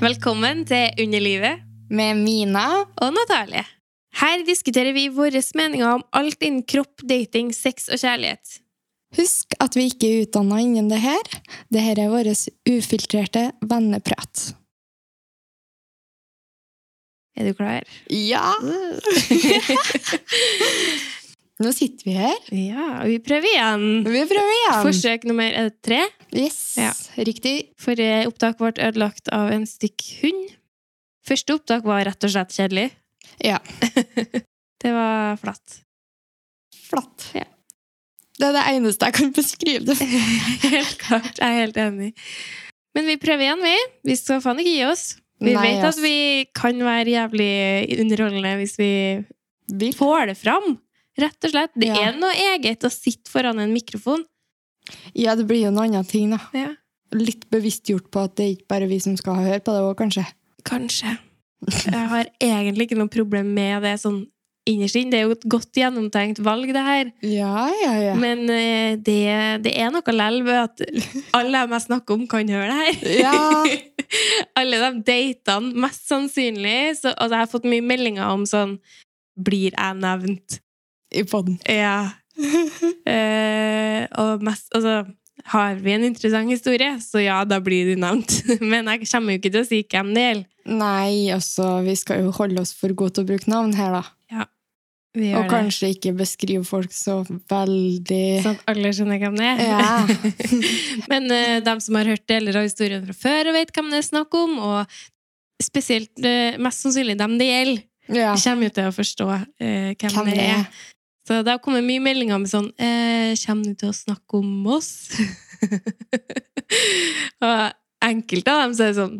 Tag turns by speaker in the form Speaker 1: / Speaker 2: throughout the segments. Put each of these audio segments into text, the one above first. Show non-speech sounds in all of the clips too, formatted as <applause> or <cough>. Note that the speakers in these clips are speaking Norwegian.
Speaker 1: Velkommen til Underlivet
Speaker 2: Med Mina.
Speaker 1: og Natalie. Her diskuterer vi våre meninger om alt innen kropp, dating, sex og kjærlighet.
Speaker 2: Husk at vi ikke er utdanna innen det her. Det her er vår ufiltrerte venneprat.
Speaker 1: Er du klar?
Speaker 2: Ja! <laughs> Nå sitter vi her.
Speaker 1: Ja, vi prøver igjen.
Speaker 2: Vi prøver igjen.
Speaker 1: Forsøk nummer er det tre.
Speaker 2: Yes.
Speaker 1: Ja.
Speaker 2: Riktig.
Speaker 1: Forrige opptak ble ødelagt av en stykk hund. Første opptak var rett og slett kjedelig.
Speaker 2: Ja.
Speaker 1: <laughs> det var flatt.
Speaker 2: Flatt.
Speaker 1: Ja.
Speaker 2: Det er det eneste jeg kan beskrive det. <laughs>
Speaker 1: helt klart. Jeg er helt enig. Men vi prøver igjen, vi. Vi skal faen ikke gi oss. Vi
Speaker 2: Nei,
Speaker 1: vet
Speaker 2: ass.
Speaker 1: at vi kan være jævlig underholdende hvis vi
Speaker 2: Vil.
Speaker 1: får det fram. Rett og slett. Det
Speaker 2: Ja.
Speaker 1: er noe eget å sitte foran en mikrofon.
Speaker 2: Ja, det blir jo en annen ting, da.
Speaker 1: Ja.
Speaker 2: Litt bevisstgjort på at det er ikke bare vi som skal høre på det òg, kanskje.
Speaker 1: Kanskje. Jeg har egentlig ikke noe problem med det sånn innerst inne. Det er jo et godt gjennomtenkt valg, det her.
Speaker 2: Ja, ja, ja.
Speaker 1: Men eh, det, det er noe lell ved at alle dem jeg snakker om, kan høre det her.
Speaker 2: Ja.
Speaker 1: <laughs> Alle de datene, mest sannsynlig. Så, altså, jeg har fått mye meldinger om sånn Blir jeg nevnt?
Speaker 2: I podden.
Speaker 1: Ja. <laughs> Eh, og mest Altså, har vi en interessant historie, så ja, da blir du nevnt. <laughs> Men jeg kommer jo ikke til å si hvem det gjelder.
Speaker 2: Nei, altså, vi skal jo holde oss for gode til å bruke navn her, da.
Speaker 1: Vi gjør
Speaker 2: Og kanskje ikke beskrive folk så veldig
Speaker 1: det sånn at alle skjønner hvem det er.
Speaker 2: Ja.
Speaker 1: <laughs> Men eh, de som har hørt deler av historien fra før, og vet hvem det er snakk om, og spesielt eh, mest sannsynlig dem det gjelder,
Speaker 2: ja.
Speaker 1: kommer jo til å forstå eh, hvem, det er. Så det har kommet mye meldinger med sånn eh, Kommer du til å snakke om oss? <laughs> og enkelte av dem sier sånn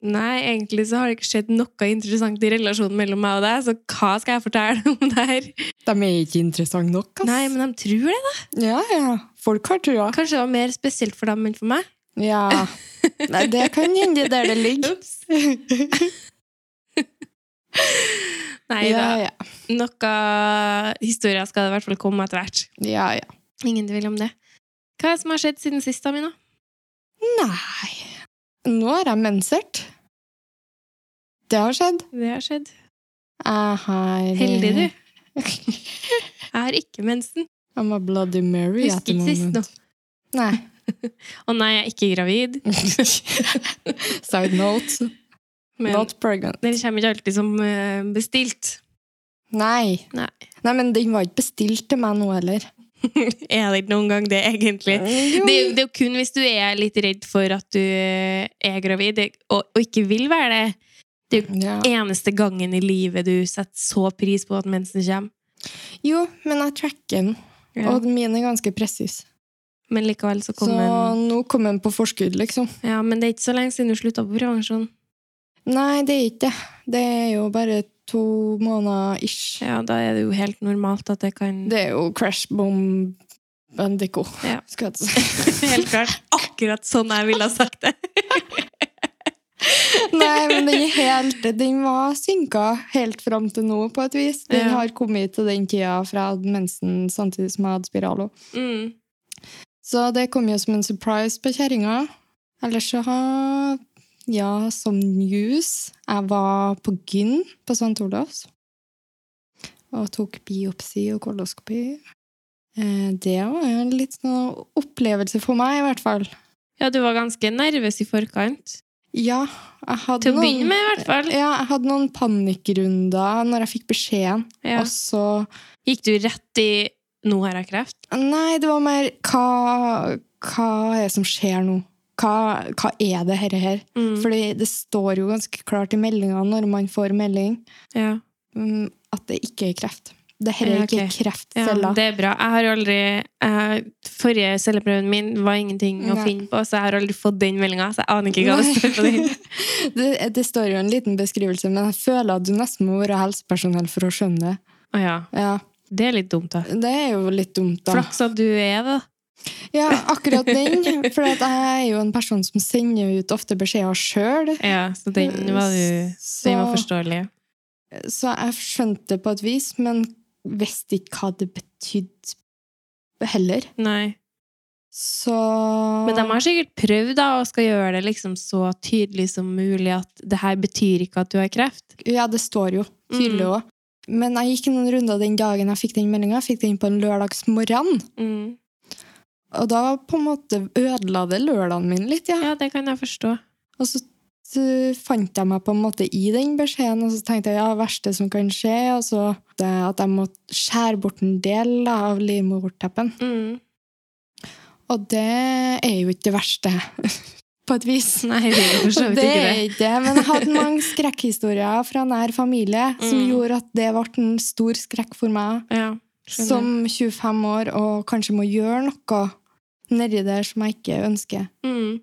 Speaker 1: Nei, egentlig så har det ikke skjedd noe interessant i relasjonen mellom meg og deg, så hva skal jeg fortelle om det her?
Speaker 2: De er ikke interessante nok, ass.
Speaker 1: Nei, men de tror det. da.
Speaker 2: Ja, ja. Folk har trua.
Speaker 1: Kanskje det var mer spesielt for dem enn for meg? <laughs>
Speaker 2: Ja. Nei, det kan hende der det ligger.
Speaker 1: Ups. <laughs> Nei da.
Speaker 2: Ja, ja.
Speaker 1: Noe historier skal det i hvert fall komme etter hvert.
Speaker 2: ja, ja.
Speaker 1: Ingen tvil om det. Hva er det som har skjedd siden sist, da, Mina?
Speaker 2: Nei. Nå har jeg mensert. Det har skjedd.
Speaker 1: Det har skjedd.
Speaker 2: Jeg har eh,
Speaker 1: Heldig,
Speaker 2: <laughs>
Speaker 1: du.
Speaker 2: I'm
Speaker 1: Jeg har ikke mensen.
Speaker 2: a bloody Mary at
Speaker 1: Husker
Speaker 2: the
Speaker 1: ikke sist nå.
Speaker 2: moment.
Speaker 1: <laughs>
Speaker 2: Nei.
Speaker 1: Å nei, jeg er ikke gravid. <laughs>
Speaker 2: Side note.
Speaker 1: Men
Speaker 2: Not pregnant.
Speaker 1: den kommer ikke alltid som eh, bestilt.
Speaker 2: Nei.
Speaker 1: Nei.
Speaker 2: Nei, men den var ikke bestilt til meg nå heller.
Speaker 1: er det ikke noen gang det, egentlig? Det,
Speaker 2: Jo.
Speaker 1: det er Mm, jo kun hvis du er litt redd for at du eh, er gravid, det- og, og ikke vil være det.
Speaker 2: ja.
Speaker 1: Eneste gangen i livet du setter så pris på at mensen kommer.
Speaker 2: jo, men jeg tracker den,
Speaker 1: Ja.
Speaker 2: og min er ganske presis.
Speaker 1: Men likevel så
Speaker 2: Så
Speaker 1: kom den.
Speaker 2: nå kom den på forskudd, liksom.
Speaker 1: Ja, men det er ikke så lenge siden du slutta på prevensjon.
Speaker 2: Nei, det er ikke det. Det er jo bare to måneder ish.
Speaker 1: Ja, da er det jo helt normalt at det kan
Speaker 2: Det er jo crash bomb bandico,
Speaker 1: Ja.
Speaker 2: skal jeg si.
Speaker 1: <laughs>
Speaker 2: <laughs>
Speaker 1: Helt klart. Akkurat sånn jeg ville ha sagt det.
Speaker 2: Nei, men den, er helt, den var synka helt fram til nå, på et vis. Den
Speaker 1: Ja.
Speaker 2: har kommet til den tida fra jeg hadde mensen samtidig som jeg hadde spiral. også.
Speaker 1: Mm.
Speaker 2: Så det kom jo som en surprise på kjerringa. Ellers så har Ja, som news Jeg var på gyn på St. Olavs og tok biopsi og koloskopi. Eh, Det var jo en litt sånn opplevelse for meg, i hvert fall.
Speaker 1: Ja, du var ganske nervøs i forkant.
Speaker 2: Ja, jeg hadde
Speaker 1: Til å
Speaker 2: noen
Speaker 1: begynne med, i hvert fall.
Speaker 2: Ja, jeg hadde noen panikkrunder når jeg fikk beskjeden,
Speaker 1: Ja.
Speaker 2: og så
Speaker 1: Gikk du rett i 'nå har jeg kreft'?
Speaker 2: Nei, det var mer Hva, hva er det som skjer nå? Hva, hva er det herre her?
Speaker 1: Mm.
Speaker 2: Fordi det står jo ganske klart i meldinga når man får melding,
Speaker 1: Ja.
Speaker 2: mm, at det ikke er kreft. Det her
Speaker 1: Ja,
Speaker 2: er ikke
Speaker 1: ok. ja,
Speaker 2: kreftceller.
Speaker 1: det er bra. Jeg har jo aldri jeg, Forrige celleprøven min var ingenting å
Speaker 2: Nei.
Speaker 1: finne på, så jeg har aldri fått den meldinga. Så jeg aner ikke hva det står på den.
Speaker 2: <laughs> det, det står jo en liten beskrivelse, men jeg føler at du nesten må være helsepersonell for å skjønne det.
Speaker 1: <laughs> Å ja.
Speaker 2: Ja,
Speaker 1: Det er litt dumt, da.
Speaker 2: det er jo litt dumt, da.
Speaker 1: Flaks at du er det.
Speaker 2: Ja, akkurat den. For at jeg er jo en person som sender ut ofte beskjeder sjøl.
Speaker 1: Ja, så den var du
Speaker 2: så,
Speaker 1: Den var forståelig.
Speaker 2: så jeg skjønte det på et vis, men visste ikke hva det betydde heller.
Speaker 1: Nei.
Speaker 2: Så
Speaker 1: Men de har sikkert prøvd da, og skal gjøre det liksom så tydelig som mulig at det her betyr ikke at du har kreft.
Speaker 2: Ja, det står jo tydelig
Speaker 1: Mhm.
Speaker 2: òg. Men jeg gikk noen runder den dagen jeg fikk den meldinga. Jeg fikk den på en lørdagsmorgen.
Speaker 1: Mm.
Speaker 2: Og da på en måte ødela det lørdagen min litt, ja.
Speaker 1: Ja, det kan jeg forstå.
Speaker 2: Og så eh, fant jeg meg på en måte i den beskjeden, og så tenkte jeg ja, det verste som kan skje, og så det at jeg må skjære bort en del da, av livmorteppen.
Speaker 1: Mm.
Speaker 2: Og det er jo ikke det verste, <laughs> på et vis.
Speaker 1: Nei, det er for så vidt
Speaker 2: Det
Speaker 1: ikke
Speaker 2: er
Speaker 1: det.
Speaker 2: ikke det, men jeg hadde mange skrekkhistorier fra nær familie som
Speaker 1: Mm.
Speaker 2: gjorde at det ble en stor skrekk for meg
Speaker 1: Ja, skjønner.
Speaker 2: som 25 år og kanskje må gjøre noe nedi der som jeg ikke ønsker.
Speaker 1: Mm.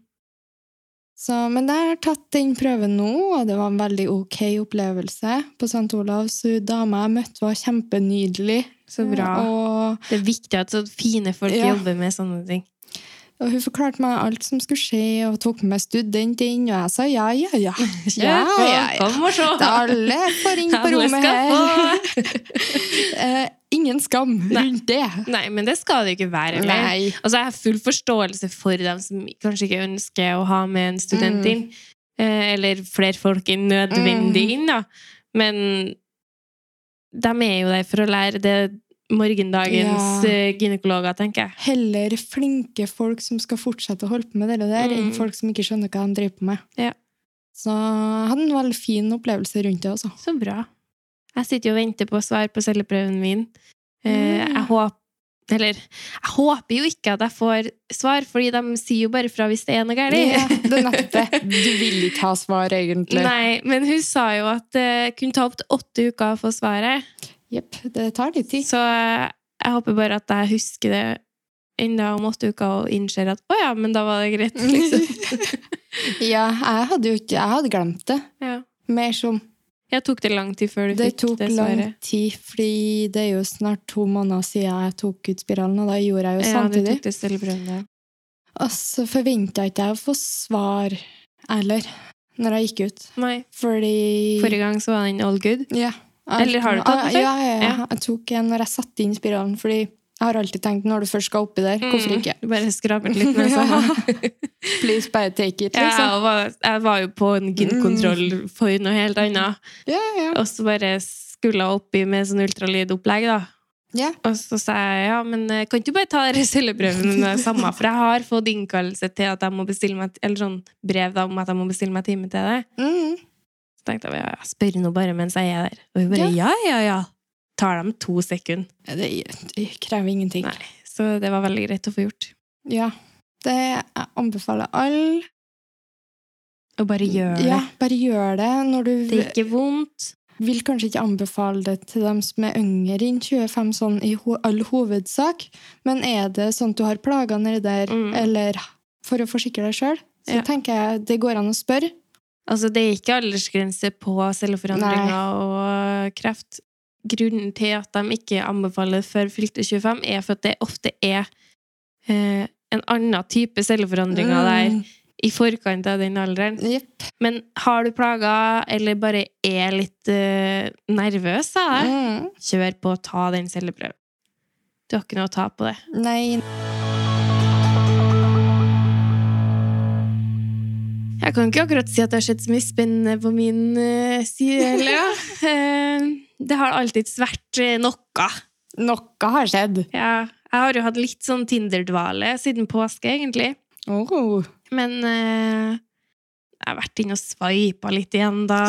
Speaker 2: Så, men jeg har tatt den prøven nå, og det var en veldig ok opplevelse på St. Olavs. Hun dama jeg møtte, var kjempenydelig. Eh,
Speaker 1: Så bra.
Speaker 2: Og,
Speaker 1: Det er viktig at så fine folk
Speaker 2: Ja.
Speaker 1: jobber med sånne ting.
Speaker 2: og hun forklarte meg alt som skulle skje, og tok med student inn, og jeg sa ja, ja,
Speaker 1: <laughs>
Speaker 2: ja. <laughs>
Speaker 1: Kjør
Speaker 2: Ja,
Speaker 1: på,
Speaker 2: ja, ja.
Speaker 1: Kom og se!
Speaker 2: Da alle får inn på
Speaker 1: Alle
Speaker 2: rommet
Speaker 1: skal
Speaker 2: her. <laughs>
Speaker 1: få.
Speaker 2: Eh, ingen skam rundt det.
Speaker 1: Nei, men det skal det jo ikke være. eller?
Speaker 2: Nei.
Speaker 1: Altså, jeg har full forståelse for dem som kanskje ikke ønsker å ha med en student
Speaker 2: Mm.
Speaker 1: inn. eh, Eller flere folk enn nødvendig inn, da. Men de er jo der for å lære. Det er morgendagens
Speaker 2: Ja.
Speaker 1: eh, gynekologer, tenker jeg.
Speaker 2: Heller flinke folk som skal fortsette å holde på med det der, enn
Speaker 1: Mm.
Speaker 2: folk som ikke skjønner hva de driver på med.
Speaker 1: Ja.
Speaker 2: Så jeg hadde en veldig fin opplevelse rundt det, altså.
Speaker 1: Så bra. Jeg sitter jo og venter på svar på celleprøven min. Eh,
Speaker 2: Mm.
Speaker 1: Jeg håper eller, jeg håper jo ikke at jeg får svar, fordi de sier jo bare fra hvis det er noe galt.
Speaker 2: Ja, det er nettopp
Speaker 1: <laughs>
Speaker 2: det. Du vil ikke ha svar, egentlig.
Speaker 1: Nei, men hun sa jo at det kunne ta opp til åtte uker å få svaret.
Speaker 2: Jepp, det tar litt tid.
Speaker 1: Så eh, jeg håper bare at jeg husker det enda om åtte uker og innser at å ja, men da var det
Speaker 2: <laughs>
Speaker 1: greit. Liksom.
Speaker 2: <laughs> Ja, jeg hadde jo ikke Jeg hadde glemt det.
Speaker 1: ja.
Speaker 2: Mer som
Speaker 1: Jeg tok det lang tid før du
Speaker 2: Det
Speaker 1: fikk
Speaker 2: tok
Speaker 1: det
Speaker 2: lang
Speaker 1: svaret.
Speaker 2: tid, fordi det er jo snart to måneder siden jeg tok ut spiralen, og da gjorde jeg
Speaker 1: Ja,
Speaker 2: jo
Speaker 1: du
Speaker 2: samtidig.
Speaker 1: tok det celleprøven, ja.
Speaker 2: Og så forventa ikke jeg å få svar heller, når jeg gikk ut.
Speaker 1: Nei,
Speaker 2: Fordi
Speaker 1: Forrige gang så var den all good.
Speaker 2: Ja.
Speaker 1: Eller har du tatt den før?
Speaker 2: før? Ja, ja, ja.
Speaker 1: Ja.
Speaker 2: Jeg tok en når jeg satte inn spiralen, fordi jeg har alltid tenkt når du først skal oppi der, hvorfor
Speaker 1: Mm,
Speaker 2: ikke?
Speaker 1: Du bare skraper <laughs> litt med sånn,
Speaker 2: Ja,
Speaker 1: sammen. <laughs>
Speaker 2: Please bare take it,
Speaker 1: Ja,
Speaker 2: liksom.
Speaker 1: og var, jeg var jo på en gynkontroll for noe helt annet.
Speaker 2: Ja, ja.
Speaker 1: Og så bare skulle jeg oppi med sånn ultralydopplegg, da.
Speaker 2: Ja.
Speaker 1: Og så sa jeg ja, men eh, kan ikke du bare ta dere celleprøven med det samme? For jeg har fått innkallelse til at jeg må bestille meg, eller sånn brev da, om at jeg må bestille meg time til det.
Speaker 2: Mm.
Speaker 1: Så tenkte jeg ja, jeg spør nå bare mens jeg er der. Og hun bare ja, ja, ja. Tar dem to sekunder.
Speaker 2: Ja, Det, det krever ingenting.
Speaker 1: Nei. Så det var veldig greit å få gjort.
Speaker 2: Ja. Det jeg anbefaler alle.
Speaker 1: Og bare gjør det.
Speaker 2: Ja, bare gjør det når du
Speaker 1: Det er ikke vondt.
Speaker 2: Vil kanskje ikke anbefale det til dem som er yngre enn 25, sånn i ho all hovedsak, men er det sånn at du har plager nedi der,
Speaker 1: Mm.
Speaker 2: eller for å forsikre deg sjøl, så
Speaker 1: Ja.
Speaker 2: tenker jeg det går an å spørre.
Speaker 1: Altså, det er ikke aldersgrense på celleforandringer og kreft. Grunnen til at de ikke anbefaler det før fylte 25, er for at det ofte er eh, en annen type celleforandringer der i forkant av den alderen.
Speaker 2: Mm, Jepp.
Speaker 1: Men har du plager, eller bare er litt eh, nervøs, av det,
Speaker 2: Mm.
Speaker 1: kjør på og ta den celleprøven. Du har ikke noe å ta på det.
Speaker 2: Nei.
Speaker 1: Jeg kan ikke akkurat si at det har skjedd så mye spennende på min eh, side. Eller, ja. Eh, det har alltids vært eh, noe.
Speaker 2: Noe har skjedd.
Speaker 1: Ja, jeg har jo hatt litt sånn Tinder-dvale siden påske, egentlig.
Speaker 2: Oh.
Speaker 1: Men eh, jeg har vært inne og sveipa litt igjen, da.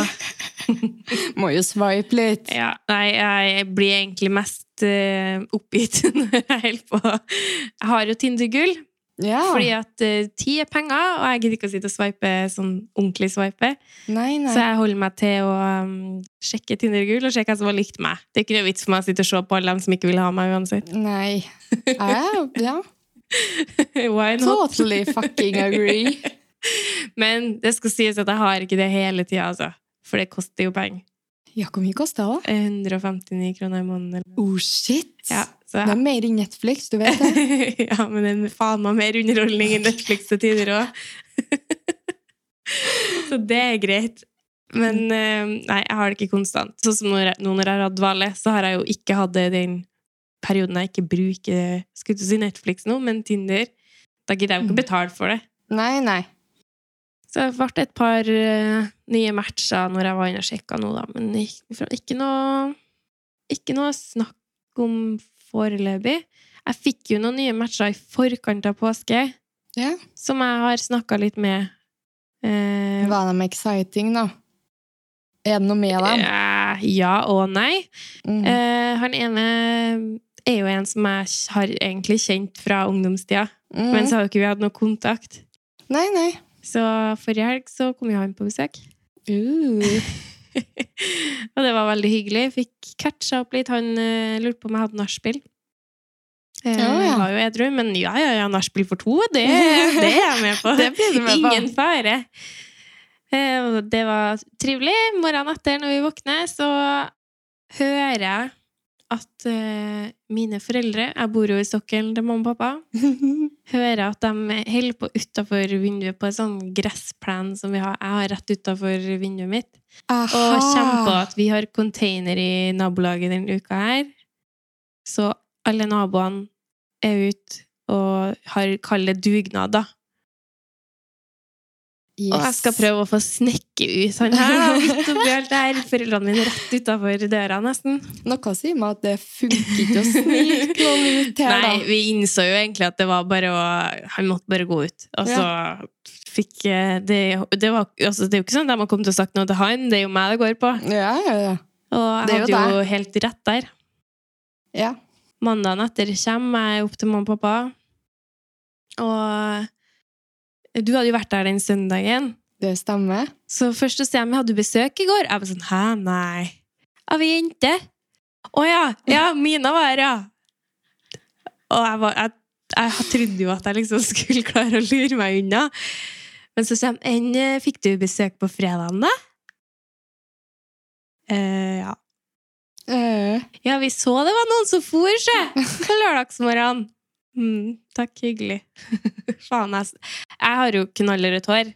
Speaker 2: Må jo swipe litt.
Speaker 1: Ja, nei, jeg blir egentlig mest eh, oppgitt <laughs> når jeg holder på. Jeg har jo Tinder-gull,
Speaker 2: Ja.
Speaker 1: fordi at eh, tid er penger, og jeg gidder ikke å sitte og sveipe sånn ordentlig sveipe.
Speaker 2: Nei, nei.
Speaker 1: Så jeg holder meg til å um, sjekke Tinder-gull og sjekke hvem som har likt meg. Det er ikke noe vits for meg å sitte og se på alle dem som ikke vil ha meg uansett. <laughs>
Speaker 2: Nei. Ja, ja.
Speaker 1: Why not?
Speaker 2: Totally fucking agree.
Speaker 1: <laughs> Men det skal sies at jeg har ikke det hele tida, altså. For det koster jo penger.
Speaker 2: Ja, hvor mye koster det?
Speaker 1: 159 kroner i måneden. eller-
Speaker 2: Oh, shit!
Speaker 1: Ja, så <laughs>
Speaker 2: Det
Speaker 1: jeg
Speaker 2: er mer enn Netflix, du vet det.
Speaker 1: ja, men det er faen meg mer underholdning enn Netflix til tider òg. <laughs> så det er greit. Men eh, nei, jeg har det ikke konstant. Sånn som når jeg, nå når jeg har hatt dvale, så har jeg jo ikke hatt det den perioden jeg ikke bruker skulle til å si Netflix nå, men Tinder. Da gidder jeg
Speaker 2: Mm.
Speaker 1: jo ikke betale for det.
Speaker 2: Nei, nei.
Speaker 1: Så det ble et par eh, nye matcher når jeg var inne og sjekka nå, da. Men ikke, ikke, noe, ikke noe snakk om foreløpig. Jeg fikk jo noen nye matcher i forkant av påske,
Speaker 2: Ja.
Speaker 1: som jeg har snakka litt med. Eh,
Speaker 2: Var de exciting, da? Er det noe med dem?
Speaker 1: eh, ja og nei.
Speaker 2: Mm.
Speaker 1: Eh, han ene er jo en som jeg har egentlig kjent fra ungdomstida,
Speaker 2: Mm.
Speaker 1: men så har jo ikke vi hatt noe kontakt.
Speaker 2: Nei, nei.
Speaker 1: Så forrige helg så kom jo han på besøk.
Speaker 2: Uh.
Speaker 1: og det var veldig hyggelig. Fikk catcha opp litt. Han eh, lurte på om jeg hadde nachspiel. Eh,
Speaker 2: Ja, ja.
Speaker 1: Jeg var jo edru, men ja, ja, ja, nachspiel for to,
Speaker 2: <laughs>
Speaker 1: det, det er jeg med på.
Speaker 2: Det blir du med på.
Speaker 1: Ingen fare. Eh, og Det var trivelig. Morgenen etter, når vi våkner, så hører jeg at eh, mine foreldre Jeg bor jo i sokkelen til mamma og pappa hører at de holder på utafor vinduet på en sånn gressplen som vi har. jeg har rett utafor vinduet mitt.
Speaker 2: <laughs> Aha.
Speaker 1: Og kommer på at vi har container i nabolaget denne uka her. Så alle naboene er ute og har kalde dugnader.
Speaker 2: Yes.
Speaker 1: Og jeg skal prøve å få snekke ut han her.
Speaker 2: <laughs>
Speaker 1: da, midt oppi alt det her. Foreldrene mine rett utafor døra, nesten.
Speaker 2: Noe sier meg at det funker ikke å snike noen ut her,
Speaker 1: Nei, vi innså jo egentlig at det var bare å Han måtte bare gå ut. Og så fikk eh, det, det, var, altså, det er jo ikke sånn at de har kommet og sagt noe til han, det er jo meg det går på.
Speaker 2: da. Ja, ja, ja.
Speaker 1: Og jeg
Speaker 2: Det er jo
Speaker 1: hadde jo, helt rett der.
Speaker 2: ja.
Speaker 1: Mandagen etter kommer jeg opp til mamma og pappa, og du hadde jo vært der den søndagen.
Speaker 2: Det stemmer.
Speaker 1: Så først så sier de, jeg hadde du besøk i går. Jeg var sånn, hæ, nei. Av ei jente. Å ja, ja, Mina var her, ja. Og jeg, var, jeg, jeg trodde jo at jeg liksom skulle klare å lure meg unna. Men så sier de, enn eh, fikk du besøk på fredagen da? Eh, ja.
Speaker 2: Eh,
Speaker 1: ja, vi så det var noen som for seg på lørdagsmorgenen. Mm, takk, hyggelig. <laughs> Faen, jeg, jeg har jo knallrødt hår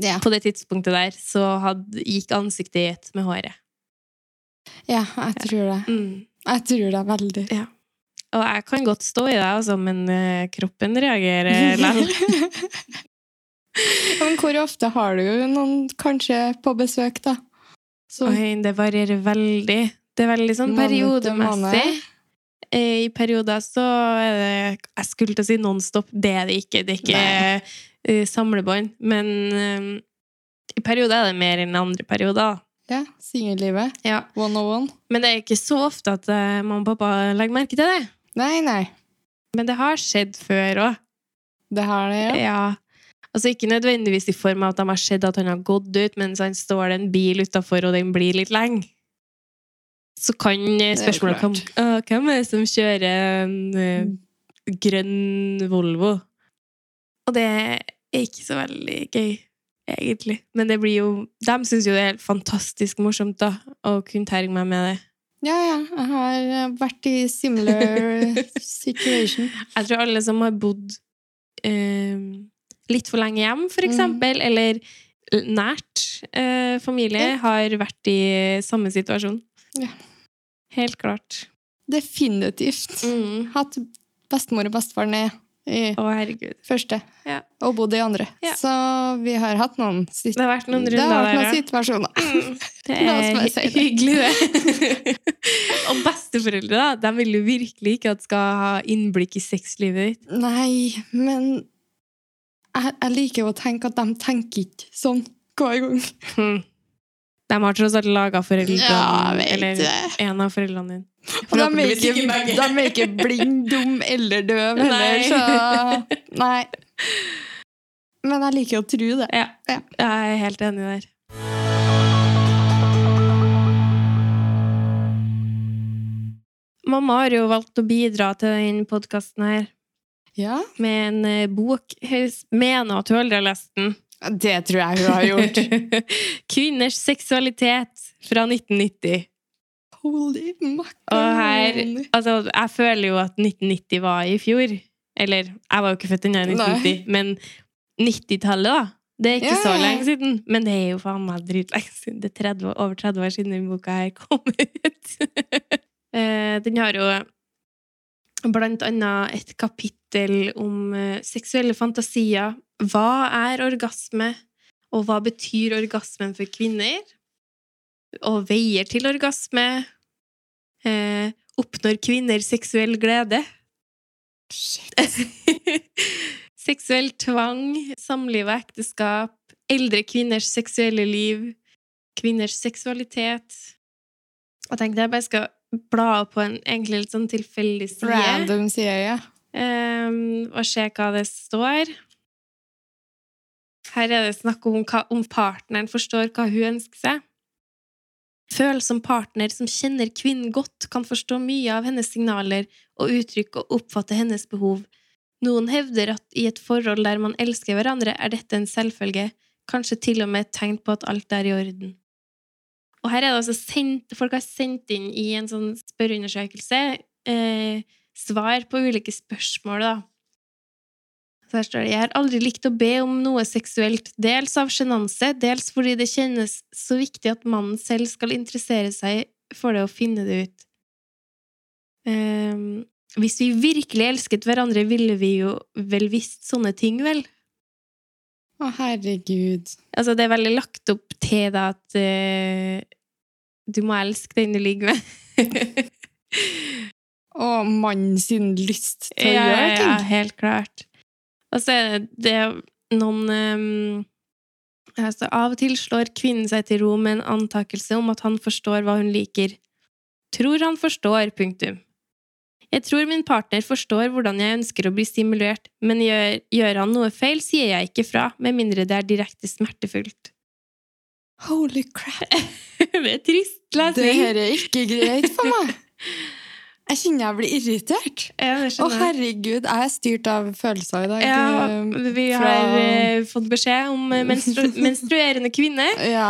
Speaker 2: ja.
Speaker 1: på det tidspunktet der så hadde, gikk ansiktet i ett med håret.
Speaker 2: ja, jeg tror det.
Speaker 1: Mm.
Speaker 2: Jeg tror det veldig.
Speaker 1: Og jeg kan godt stå i det, altså, men eh, kroppen <laughs> reagerer likevel.
Speaker 2: <laughs> Men hvor ofte har du noen kanskje på besøk, da? Så,
Speaker 1: Oi, Det varierer veldig. Det er veldig sånn
Speaker 2: Måned til måned.
Speaker 1: periodemessig. Eh, I perioder så er det Jeg skulle til å si nonstop. Det er det ikke. Det er ikke
Speaker 2: Nei.
Speaker 1: eh, samlebånd. Men eh, i perioder er det mer enn andre perioder.
Speaker 2: ja, singellivet.
Speaker 1: Ja.
Speaker 2: One on one.
Speaker 1: Men det er ikke så ofte at eh, mamma og pappa legger merke til det.
Speaker 2: Nei, nei.
Speaker 1: Men det har skjedd før òg.
Speaker 2: Det her, det, ja.
Speaker 1: Ja. Altså Ikke nødvendigvis i form av at de har sett at han har gått ut, mens han står det en bil utafor, og den blir litt lenge. Så kan eh,
Speaker 2: Det er jo
Speaker 1: spørsmålet komme «Å, Hvem er det som kjører en eh,
Speaker 2: Mm.
Speaker 1: grønn Volvo? Og det er ikke så veldig gøy, egentlig. Men det blir jo De syns jo det er helt fantastisk morsomt, da, å kunne terge meg med det.
Speaker 2: Ja, ja. Jeg har eh, vært i
Speaker 1: <laughs>
Speaker 2: similar situation.
Speaker 1: Jeg tror alle som har bodd eh, litt for lenge hjem, for
Speaker 2: Mhm.
Speaker 1: eksempel, eller l- nært eh, familie,
Speaker 2: Ja.
Speaker 1: har vært i samme situasjon.
Speaker 2: Ja.
Speaker 1: Helt klart.
Speaker 2: Definitivt.
Speaker 1: Mm.
Speaker 2: Hatt bestemor og bestefar ned i
Speaker 1: Å, herregud.
Speaker 2: første,
Speaker 1: Ja.
Speaker 2: og bodd i andre.
Speaker 1: Ja.
Speaker 2: Så vi har hatt noen sitt-
Speaker 1: Det har vært noen
Speaker 2: det har
Speaker 1: runder
Speaker 2: vært noen
Speaker 1: der, ja.
Speaker 2: situasjoner.
Speaker 1: Mm. Det
Speaker 2: <laughs> La oss
Speaker 1: er
Speaker 2: bare si
Speaker 1: hy-
Speaker 2: det.
Speaker 1: hyggelig, det. og besteforeldre, da. De vil jo virkelig ikke at skal ha innblikk i sexlivet ditt.
Speaker 2: <laughs> Nei, men jeg, jeg liker jo å tenke at de tenker ikke sånn hver gang.
Speaker 1: Mm. De har tross alt laga foreldrene
Speaker 2: Hm. Ja, jeg vet
Speaker 1: Eller
Speaker 2: det.
Speaker 1: en av foreldrene dine.
Speaker 2: Og de er
Speaker 1: Forhåpentligvis
Speaker 2: ikke,
Speaker 1: begge.
Speaker 2: de er ikke blind, dum eller døv heller,
Speaker 1: Nei.
Speaker 2: så Nei. Men jeg liker å tro det.
Speaker 1: Ja.
Speaker 2: Ja.
Speaker 1: Jeg er helt enig der. Mamma har jo valgt å bidra til denne podkasten her
Speaker 2: Ja,
Speaker 1: med en eh, bok. Hun mener at hun aldri har lest den.
Speaker 2: det tror jeg hun har gjort.
Speaker 1: <laughs> 'Kvinners seksualitet' fra 1990.
Speaker 2: <laughs> Holy
Speaker 1: Og her
Speaker 2: macaroni.
Speaker 1: Altså, jeg føler jo at 1990 var i fjor. Eller, jeg var jo ikke født ennå i 1990, men 90-tallet, da. Det er ikke
Speaker 2: Ja,
Speaker 1: så
Speaker 2: ja.
Speaker 1: lenge siden. Men det er jo faen meg dritlenge siden. Det er 30, år- over 30 år siden den boka her kom <laughs> ut. Eh, den har jo blant annet et kapittel kapittel om eh, seksuelle fantasier. Hva er orgasme, og hva betyr orgasmen for kvinner? Og veier til orgasme. Eh, oppnår kvinner seksuell glede?
Speaker 2: Shit.
Speaker 1: <laughs> Seksuell tvang, samliv og ekteskap, eldre kvinners seksuelle liv, kvinners seksualitet Jeg tenkte jeg bare skal bla opp på en egentlig litt sånn tilfeldig side
Speaker 2: Random sier jeg.
Speaker 1: ehm, og se hva det står. Her er det snakk om hva, om partneren forstår hva hun ønsker seg. Føl som partner som kjenner kvinnen godt, kan forstå mye av hennes signaler og uttrykk og oppfatte hennes behov. Noen hevder at i et forhold der man elsker hverandre, er dette en selvfølge, kanskje til og med et tegn på at alt er i orden. Og her er det altså sendt, folk har sendt inn i en sånn spørreundersøkelse eh, svar på ulike spørsmål, da. Så her står det Jeg har aldri likt å be om noe seksuelt, dels av sjenanse, dels fordi det kjennes så viktig at mannen selv skal interessere seg for det og finne det ut. Ehm, hvis vi virkelig elsket hverandre, ville vi jo vel visst sånne ting, vel?
Speaker 2: Å, herregud.
Speaker 1: Altså, det er veldig lagt opp til da at eh, du må elske den du ligger med. <laughs>
Speaker 2: Å, mannen sin lyst til å gjøre ting.
Speaker 1: Ja, helt klart. Og så er det- det er noen ehm, altså Av og til slår kvinnen seg til ro med en antakelse om at han forstår hva hun liker. Tror han forstår, punktum. Jeg tror min partner forstår hvordan jeg ønsker å bli stimulert, men gjør, gjør han noe feil, sier jeg ikke fra, med mindre det er direkte smertefullt. <laughs>
Speaker 2: Holy crap.
Speaker 1: det er trist
Speaker 2: Det
Speaker 1: lesning.
Speaker 2: her er ikke greit for <laughs> meg. Jeg kjenner jeg blir irritert.
Speaker 1: Ja, det
Speaker 2: Å,
Speaker 1: skjønner jeg.
Speaker 2: herregud, jeg er styrt av følelser i dag. Um,
Speaker 1: Ja,
Speaker 2: Det-
Speaker 1: vi
Speaker 2: eh, fra-
Speaker 1: har eh, fått beskjed om eh,
Speaker 2: <laughs>
Speaker 1: menstru menstruerende kvinner.
Speaker 2: Ja.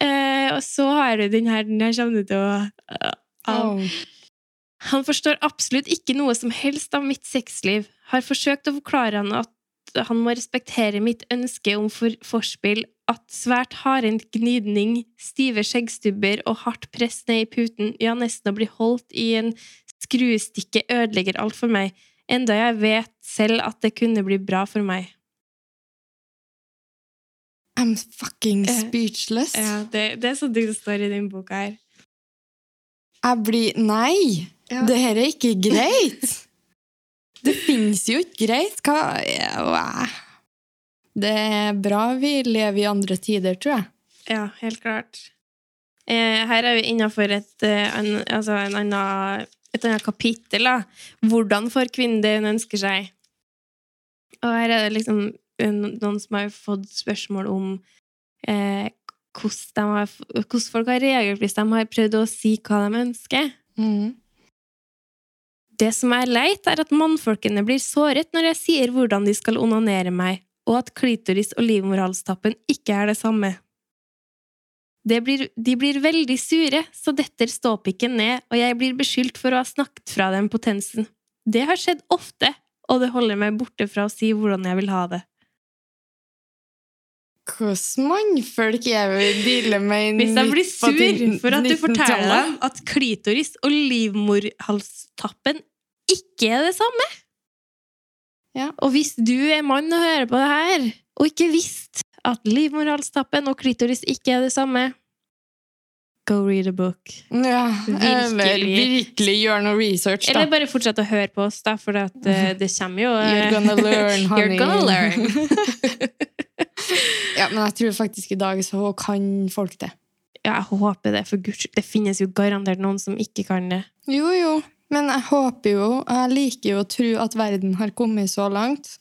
Speaker 1: Eh, og så har du den her, den her kommer du til å eh, av.
Speaker 2: Åh.
Speaker 1: Han forstår absolutt ikke noe som helst av mitt sexliv. Har forsøkt å forklare han at han må respektere mitt ønske om for forspill, at svært hardhendt gnidning, stive skjeggstubber og hardt press ned i puten, ja, nesten å bli holdt i en skruestikke, ødelegger alt for meg, enda jeg vet selv at det kunne bli bra for meg.
Speaker 2: I'm fucking
Speaker 1: Eh,
Speaker 2: speechless.
Speaker 1: Ja, det, det er sånn det står i den boka her.
Speaker 2: Jeg blir Nei! Det her er ikke greit! <laughs> Det fins jo ikke greit. Hva ja, Det er bra vi lever i andre tider, tror jeg.
Speaker 1: Ja, helt klart. Eh, her er vi innenfor et, eh, en, altså en annen, et annet kapittel. Da. Hvordan får kvinnen det hun ønsker seg? Og her er det liksom en, noen som har fått spørsmål om eh, hvordan, de har, hvordan folk har reagert hvis de har prøvd å si hva de ønsker. Mm. Det som er leit, er at mannfolkene blir såret når jeg sier hvordan de skal onanere meg, og at klitoris og livmorhalstappen ikke er det samme. Det blir, de blir veldig sure, så detter ståpikken ned, og jeg blir beskyldt for å ha snakket fra dem potensen. Det har skjedd ofte, og det holder meg borte fra å si hvordan jeg vil ha det.
Speaker 2: Hvordan mannfolk er vi dealer med i
Speaker 1: Hvis jeg blir
Speaker 2: nitt- på
Speaker 1: sur
Speaker 2: nitten-
Speaker 1: for at du forteller
Speaker 2: 1900-tallet?
Speaker 1: dem at klitoris og livmorhalstappen ikke er det samme
Speaker 2: Ja.
Speaker 1: Og hvis du er mann og hører på det her, og ikke visste at livmorhalstappen og klitoris ikke er det samme Go read a book.
Speaker 2: Ja, eller
Speaker 1: Virkelig.
Speaker 2: virkelig gjør noe research, da.
Speaker 1: Eller bare fortsett å høre på oss, da, for at, eh, det kommer jo eh,
Speaker 2: You're gonna learn,
Speaker 1: <laughs>
Speaker 2: honey.
Speaker 1: You're gonna learn.
Speaker 2: <laughs> ja, men jeg tror faktisk i dag så kan folk det.
Speaker 1: Ja, jeg håper det, for guds skyld. Det finnes jo garantert noen som ikke kan det.
Speaker 2: Jo, jo. Men jeg håper jo, jeg liker jo å tro at verden har kommet så langt.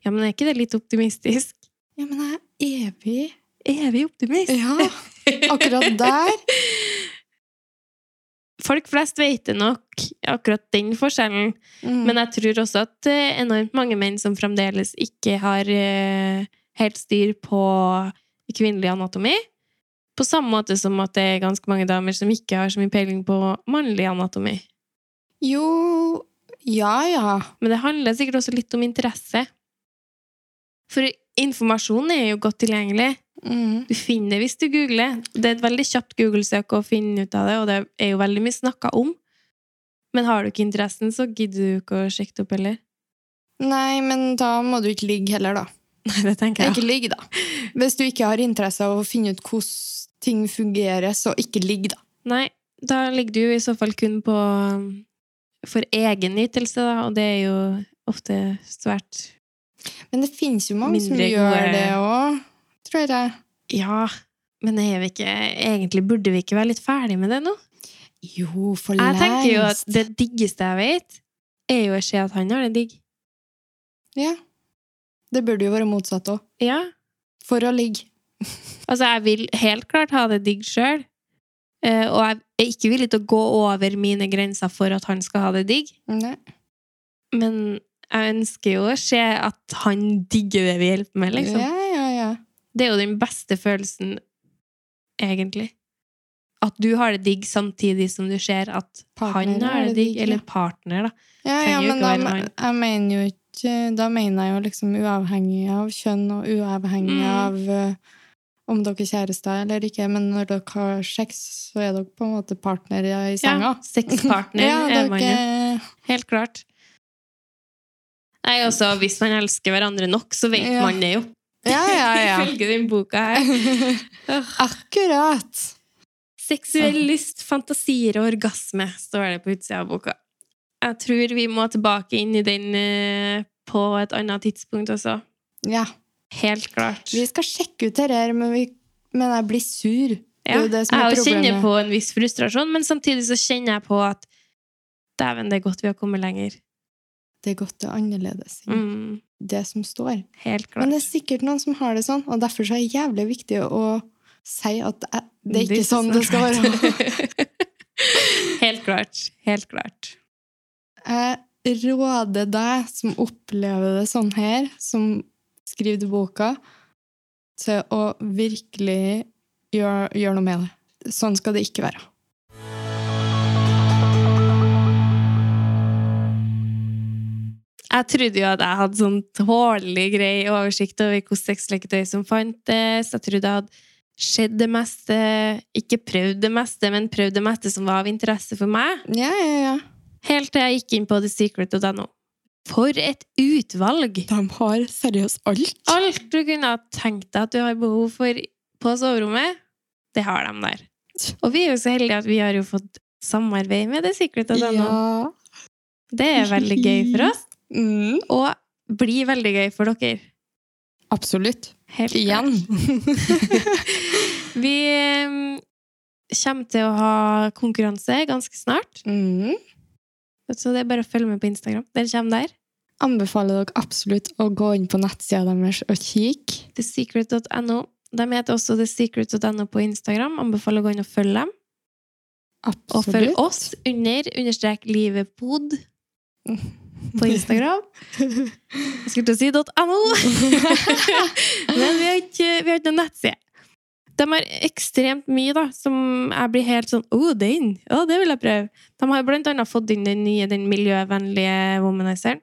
Speaker 1: Ja, men er ikke det litt optimistisk?
Speaker 2: Ja, men jeg er evig
Speaker 1: Evig
Speaker 2: <laughs>
Speaker 1: optimist!
Speaker 2: Ja, akkurat <laughs> der.
Speaker 1: Folk flest vet det nok, akkurat den forskjellen.
Speaker 2: Mm.
Speaker 1: Men jeg tror også at det er enormt mange menn som fremdeles ikke har eh, helt styr på kvinnelig anatomi. På samme måte som at det er ganske mange damer som ikke har så mye peiling på mannlig anatomi.
Speaker 2: Jo Ja, ja.
Speaker 1: Men det handler sikkert også litt om interesse. For informasjon er jo godt tilgjengelig.
Speaker 2: Mm.
Speaker 1: Du finner det hvis du googler. Det er et veldig kjapt Google-søk å finne ut av det, og det er jo veldig mye snakka om. Men har du ikke interessen, så gidder du ikke å sjekke det opp heller.
Speaker 2: Nei, men da må du ikke ligge heller, da.
Speaker 1: <laughs> Nei, det tenker jeg.
Speaker 2: Ikke ligg, da. Hvis du ikke har interesse av å finne ut hvordan ting fungerer, så ikke ligg, da.
Speaker 1: Nei, da ligger du jo i så fall kun på um, for egen ytelse, da, og det er jo ofte svært
Speaker 2: Men det finnes jo mange som
Speaker 1: Mindre
Speaker 2: gjør
Speaker 1: gode-
Speaker 2: det òg, tror jeg.
Speaker 1: Ja, men er vi ikke Egentlig burde vi ikke være litt ferdig med det nå?
Speaker 2: Jo, for
Speaker 1: Jeg
Speaker 2: lengst.
Speaker 1: tenker jo at det diggeste jeg vet, er jo å se at han har det digg.
Speaker 2: Ja. Det burde jo være motsatt òg.
Speaker 1: Ja.
Speaker 2: For å ligge.
Speaker 1: Altså, jeg vil helt klart ha det digg sjøl. Og jeg er ikke villig til å gå over mine grenser for at han skal ha det digg.
Speaker 2: Nei.
Speaker 1: Men jeg ønsker jo å se at han digger det vi hjelper med, liksom.
Speaker 2: Ja, ja, ja.
Speaker 1: Det er jo den beste følelsen, egentlig. At du har det digg samtidig som du ser at
Speaker 2: Partneren
Speaker 1: han har det digg,
Speaker 2: ja.
Speaker 1: eller partner, da.
Speaker 2: Ja,
Speaker 1: Trenger
Speaker 2: ja
Speaker 1: jo
Speaker 2: men
Speaker 1: ikke
Speaker 2: da,
Speaker 1: være han.
Speaker 2: jeg mener jo ikke Da mener jeg jo liksom uavhengig av kjønn og uavhengig
Speaker 1: Mm.
Speaker 2: av eh, om dere er kjærester eller ikke, men når dere har sex, så er dere på en måte partnere i senga.
Speaker 1: Sexpartner
Speaker 2: <laughs> Ja,
Speaker 1: er man jo.
Speaker 2: dere
Speaker 1: Helt klart. Nei, også, hvis man elsker hverandre nok, så vet
Speaker 2: Ja.
Speaker 1: man det jo.
Speaker 2: Ja, ja, ja.
Speaker 1: <laughs> Ifølge den boka
Speaker 2: <laughs>
Speaker 1: her. Åh.
Speaker 2: Akkurat!
Speaker 1: Seksuell lyst, fantasier og orgasme, står det på utsida av boka. Jeg tror vi må tilbake inn i den eh, på et annet tidspunkt også.
Speaker 2: Ja.
Speaker 1: Helt klart.
Speaker 2: Vi skal sjekke ut dette, her, men, vi, men jeg blir sur. Det
Speaker 1: Ja,
Speaker 2: er jo det som er
Speaker 1: jeg også kjenner
Speaker 2: problemet.
Speaker 1: på en viss frustrasjon, men samtidig så kjenner jeg på at dæven, det er godt vi har kommet lenger.
Speaker 2: Det er godt det er annerledes enn
Speaker 1: Mm,
Speaker 2: det som står.
Speaker 1: helt klart.
Speaker 2: Men det er sikkert noen som har det sånn, og derfor så er det jævlig viktig å si at jeg- det er ikke
Speaker 1: This is
Speaker 2: sånn det
Speaker 1: not
Speaker 2: skal være.
Speaker 1: right. <laughs> helt klart. Helt klart.
Speaker 2: Jeg råder deg som opplever det sånn her, som skriver boka, til å virkelig gjøre gjøre noe med det. Sånn skal det ikke være.
Speaker 1: Jeg trodde jo at jeg hadde sånn tålelig grei oversikt over hvordan sexleketøy som fantes. Jeg trodde jeg hadde sett det meste, ikke prøvd det meste, men prøvd det meste som var av interesse for meg.
Speaker 2: Ja, ja, ja.
Speaker 1: Helt til jeg gikk inn på thesecret.no. For et utvalg!
Speaker 2: De har seriøst alt.
Speaker 1: Alt du kunne ha tenkt deg at du har behov for på soverommet, det har de der. Og vi er jo så heldige at vi har jo fått samarbeid med thesecret.no.
Speaker 2: Ja.
Speaker 1: Det er veldig gøy for oss,
Speaker 2: Mm,
Speaker 1: og blir veldig gøy for dere.
Speaker 2: absolutt.
Speaker 1: Helt klart.
Speaker 2: Igjen.
Speaker 1: Vi eh, kommer til å ha konkurranse ganske snart,
Speaker 2: <laughs> mm.
Speaker 1: så det er bare å følge med på Instagram. Den kommer der.
Speaker 2: Anbefaler dere absolutt å gå inn på nettsida deres og kikke.
Speaker 1: TheSecret.no. De heter også TheSecret.no på Instagram. Anbefaler å gå inn og følge dem. Og følg oss under understrek livetpod på Instagram. Jeg skulle til å si .no, <laughs> men vi har ikke, vi har ikke noen nettside. De har ekstremt mye da, som jeg blir helt sånn Å, den! Å, det vil jeg prøve! De har blant annet fått inn den nye, den miljøvennlige womanizeren.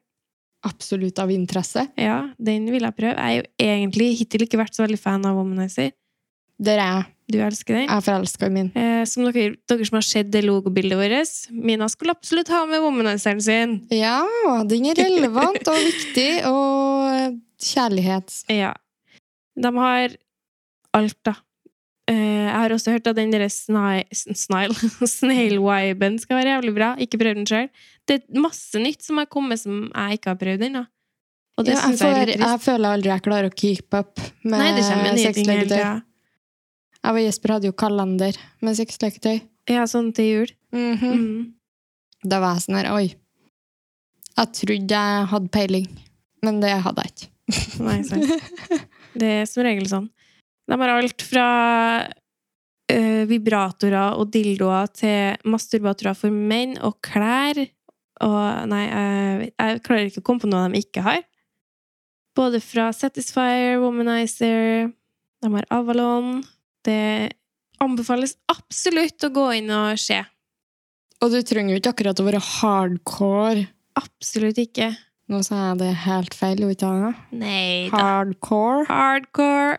Speaker 2: Absolutt av interesse.
Speaker 1: Ja, den vil jeg prøve. Jeg er jo egentlig hittil ikke vært så veldig fan av womanizer.
Speaker 2: Der er jeg.
Speaker 1: Du elsker den.
Speaker 2: Jeg er forelska i min.
Speaker 1: Eh, som dere, dere som har sett det logobildet vårt, Mina skulle absolutt ha med womanizeren sin.
Speaker 2: Ja, den er relevant og viktig, og eh, kjærlighet.
Speaker 1: Ja. De har alt, da. Eh, Jeg har også hørt at den derre <laughs> snail-viben skal være jævlig bra. Ikke prøvd den sjøl. Det er masse nytt som har kommet som jeg ikke har prøvd ennå. Og det
Speaker 2: ja, jeg,
Speaker 1: synes jeg er
Speaker 2: får,
Speaker 1: litt trist.
Speaker 2: jeg føler aldri jeg klarer å keep up med
Speaker 1: Nei, det kommer nye ting hele
Speaker 2: sexleketøy.
Speaker 1: tida.
Speaker 2: Jeg og Jesper hadde jo kalender med sexleketøy.
Speaker 1: Ja, sånn til jul.
Speaker 2: Mhm.
Speaker 1: Mm.
Speaker 2: Da var jeg sånn her, oi. Jeg trodde jeg hadde peiling, men det hadde jeg ikke.
Speaker 1: Nei, sant. Det er som regel sånn. De har alt fra eh, vibratorer og dildoer til masturbatorer for menn og klær. Og nei, jeg, jeg klarer ikke å komme på noe de ikke har. Både fra Satisfyer, Womanizer, de har Avalon Det anbefales absolutt å gå inn og se.
Speaker 2: <laughs> Og du trenger jo ikke akkurat å være hardcore.
Speaker 1: Absolutt ikke.
Speaker 2: Nå sa jeg det helt feil, gjorde ikke jeg det?
Speaker 1: Nei da.
Speaker 2: Hardcore.
Speaker 1: Hardcore.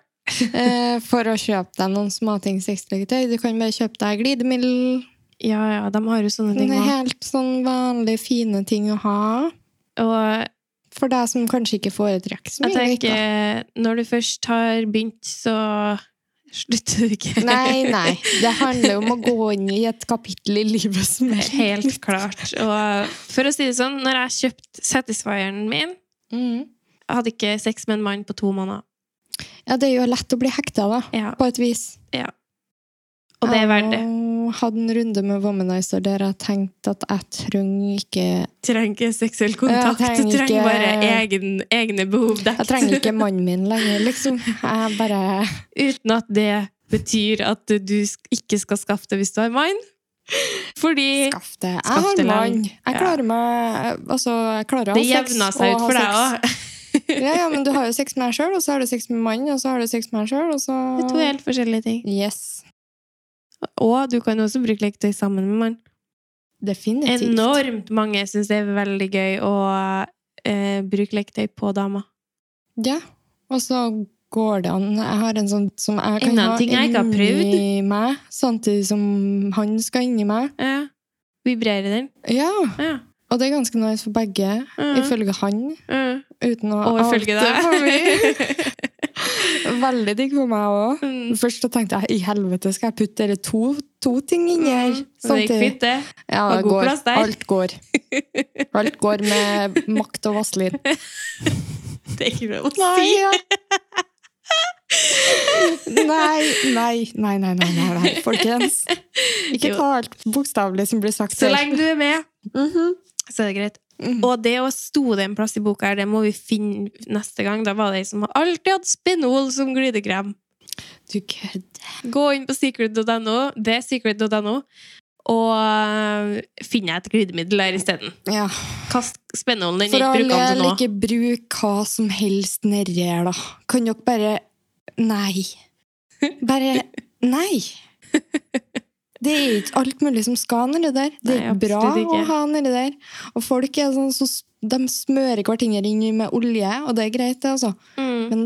Speaker 2: Eh, for å kjøpe deg noen småting sexleketøy. Du kan bare kjøpe deg glidemiddel.
Speaker 1: Ja, ja, de har jo sånne
Speaker 2: Det
Speaker 1: ting
Speaker 2: er
Speaker 1: òg.
Speaker 2: helt sånn vanlige, fine ting å ha.
Speaker 1: Og
Speaker 2: For deg som kanskje ikke foretrekker så
Speaker 1: Jeg
Speaker 2: mye leker.
Speaker 1: tenker, når du først har begynt, så slutter du ikke.
Speaker 2: Nei, nei. Det handler om å gå inn i et kapittel i livet som er
Speaker 1: <laughs> Helt klart. Og for å si det sånn, når jeg kjøpte Satisfieren min
Speaker 2: Mm.
Speaker 1: Jeg hadde ikke sex med en mann på to måneder.
Speaker 2: Ja, det er jo lett å bli hekta, da.
Speaker 1: Ja,
Speaker 2: På et vis.
Speaker 1: og det er verdt det.
Speaker 2: Jeg hadde en runde med Womanizer der jeg tenkte at jeg trenger ikke
Speaker 1: Trenger ikke seksuell kontakt.
Speaker 2: Jeg trenger
Speaker 1: Trenger,
Speaker 2: ikke-
Speaker 1: trenger bare egen, egne behov
Speaker 2: Jeg
Speaker 1: dekt.
Speaker 2: trenger ikke mannen min lenger, liksom. Jeg bare
Speaker 1: <laughs> Uten at det betyr at du sk- ikke skal skaffe det hvis du har mann. Fordi
Speaker 2: Skaff det. Jeg
Speaker 1: Skaff
Speaker 2: har
Speaker 1: det lang.
Speaker 2: mann. Jeg klarer meg Altså, jeg klarer å
Speaker 1: det
Speaker 2: ha sex.
Speaker 1: jevna seg
Speaker 2: og
Speaker 1: ut
Speaker 2: ha
Speaker 1: for deg
Speaker 2: sex.
Speaker 1: òg.
Speaker 2: Ja, ja, men du har jo sex med deg sjøl, og så har du sex med mannen, og så har du sex med deg sjøl, og så
Speaker 1: <laughs> Det er to helt forskjellige ting.
Speaker 2: Yes.
Speaker 1: Og du kan jo også bruke leketøy sammen med mann.
Speaker 2: Definitivt.
Speaker 1: Enormt mange syns det er veldig gøy å eh, bruke leketøy på damer.
Speaker 2: Ja, og så går det an. Jeg har en sånn som jeg kan
Speaker 1: Enda en
Speaker 2: ha
Speaker 1: ting jeg ikke har
Speaker 2: inni meg, samtidig som han skal inni meg.
Speaker 1: Ja. Vibrerer den.
Speaker 2: Ja,
Speaker 1: Ja.
Speaker 2: og det er ganske nice for begge,
Speaker 1: Mhm.
Speaker 2: ifølge han,
Speaker 1: Mm.
Speaker 2: uten å
Speaker 1: Og ifølge
Speaker 2: oute for
Speaker 1: <laughs>
Speaker 2: mye.
Speaker 1: deg.
Speaker 2: Veldig digg for meg òg.
Speaker 1: Mm.
Speaker 2: Først så tenkte jeg i helvete, skal jeg putte dere to, to ting inni her sånn
Speaker 1: Mm. Det gikk
Speaker 2: samtidig?
Speaker 1: fint, det.
Speaker 2: Ja,
Speaker 1: Var
Speaker 2: det
Speaker 1: god
Speaker 2: går.
Speaker 1: plass der.
Speaker 2: Alt går. Alt går med makt og vaselin.
Speaker 1: Det er ikke lov å
Speaker 2: Nei,
Speaker 1: <laughs> si.
Speaker 2: ja. nei, nei, nei, nei, nei, nei, nei, folkens. Ikke
Speaker 1: Jo.
Speaker 2: ta alt bokstavelig som blir sagt.
Speaker 1: Så
Speaker 2: her.
Speaker 1: lenge du er med,
Speaker 2: Mhm.
Speaker 1: så er det greit.
Speaker 2: Mhm.
Speaker 1: Og det også sto det en plass i boka her, det må vi finne neste gang. Da var det ei som alltid hadde Spenol som glidekrem.
Speaker 2: Du kødder.
Speaker 1: Gå inn på secret.no, det er secret.no, og øh, finn deg et glidemiddel der isteden.
Speaker 2: Ja.
Speaker 1: Kast Spenolen din,
Speaker 2: For
Speaker 1: ikke
Speaker 2: all
Speaker 1: bruk den til
Speaker 2: del,
Speaker 1: nå.
Speaker 2: ikke bruk hva som helst nedi her, da. Kan dere bare Nei. Bare Nei! Det er ikke alt mulig som skal nedi der. Det er
Speaker 1: Nei, absolutt
Speaker 2: bra å
Speaker 1: ikke.
Speaker 2: ha nedi der. Og folk er sånn, så, de smører hverandre inn med olje, og det er greit, det, altså.
Speaker 1: Mm.
Speaker 2: Men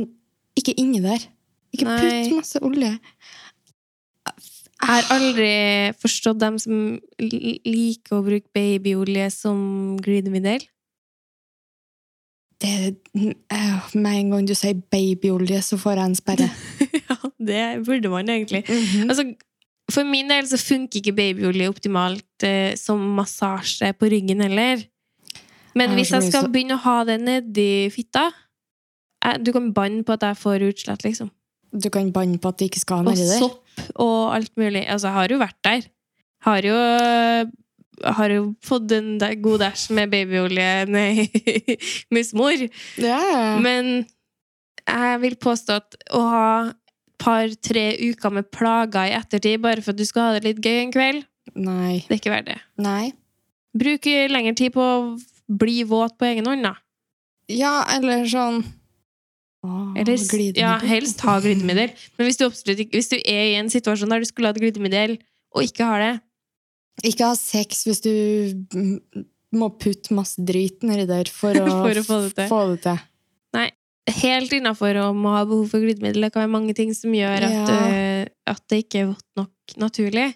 Speaker 2: ikke inni der. Ikke
Speaker 1: Nei.
Speaker 2: putt masse olje.
Speaker 1: Jeg har aldri forstått dem som li- liker å bruke babyolje som glidemiddel.
Speaker 2: Det, øh, med en gang du sier babyolje, så får jeg en
Speaker 1: <laughs>
Speaker 2: sperre.
Speaker 1: <laughs> ja, det burde man egentlig. Altså, for min del så funker ikke babyolje optimalt eh, som massasje på ryggen heller.
Speaker 2: Jeg
Speaker 1: Men
Speaker 2: har
Speaker 1: hvis
Speaker 2: så
Speaker 1: jeg
Speaker 2: mye
Speaker 1: skal
Speaker 2: så-
Speaker 1: begynne å ha det nedi fitta jeg, Du kan banne på at jeg får utslett, liksom.
Speaker 2: Du kan banne på at det ikke skal
Speaker 1: Og
Speaker 2: nedi der.
Speaker 1: sopp og alt mulig. Altså, jeg har jo vært der. Har jo har jo fått en da- god dæsj med babyolje Nei, <laughs> musmor.
Speaker 2: Ja, ja.
Speaker 1: Men jeg vil påstå at å ha et par-tre uker med plager i ettertid bare for at du skal ha det litt gøy en kveld,
Speaker 2: Nei.
Speaker 1: det er ikke verdt det.
Speaker 2: Nei.
Speaker 1: Bruk lengre tid på å bli våt på egen hånd, da.
Speaker 2: Ja, eller sånn Åh,
Speaker 1: Eller,
Speaker 2: glidemiddel.
Speaker 1: ja, helst ha glidemiddel. Men hvis du, absolutt ikke, hvis du er i en situasjon der du skulle hatt glidemiddel, og ikke har det
Speaker 2: <laughs> Ikke ha sex hvis du mm, må putte masse drit nedi der <laughs> for å,
Speaker 1: For å få det til. Helt innafor å må ha behov for glidemiddel. Det kan være mange ting som gjør at,
Speaker 2: Ja.
Speaker 1: øh, at det ikke er vått nok naturlig.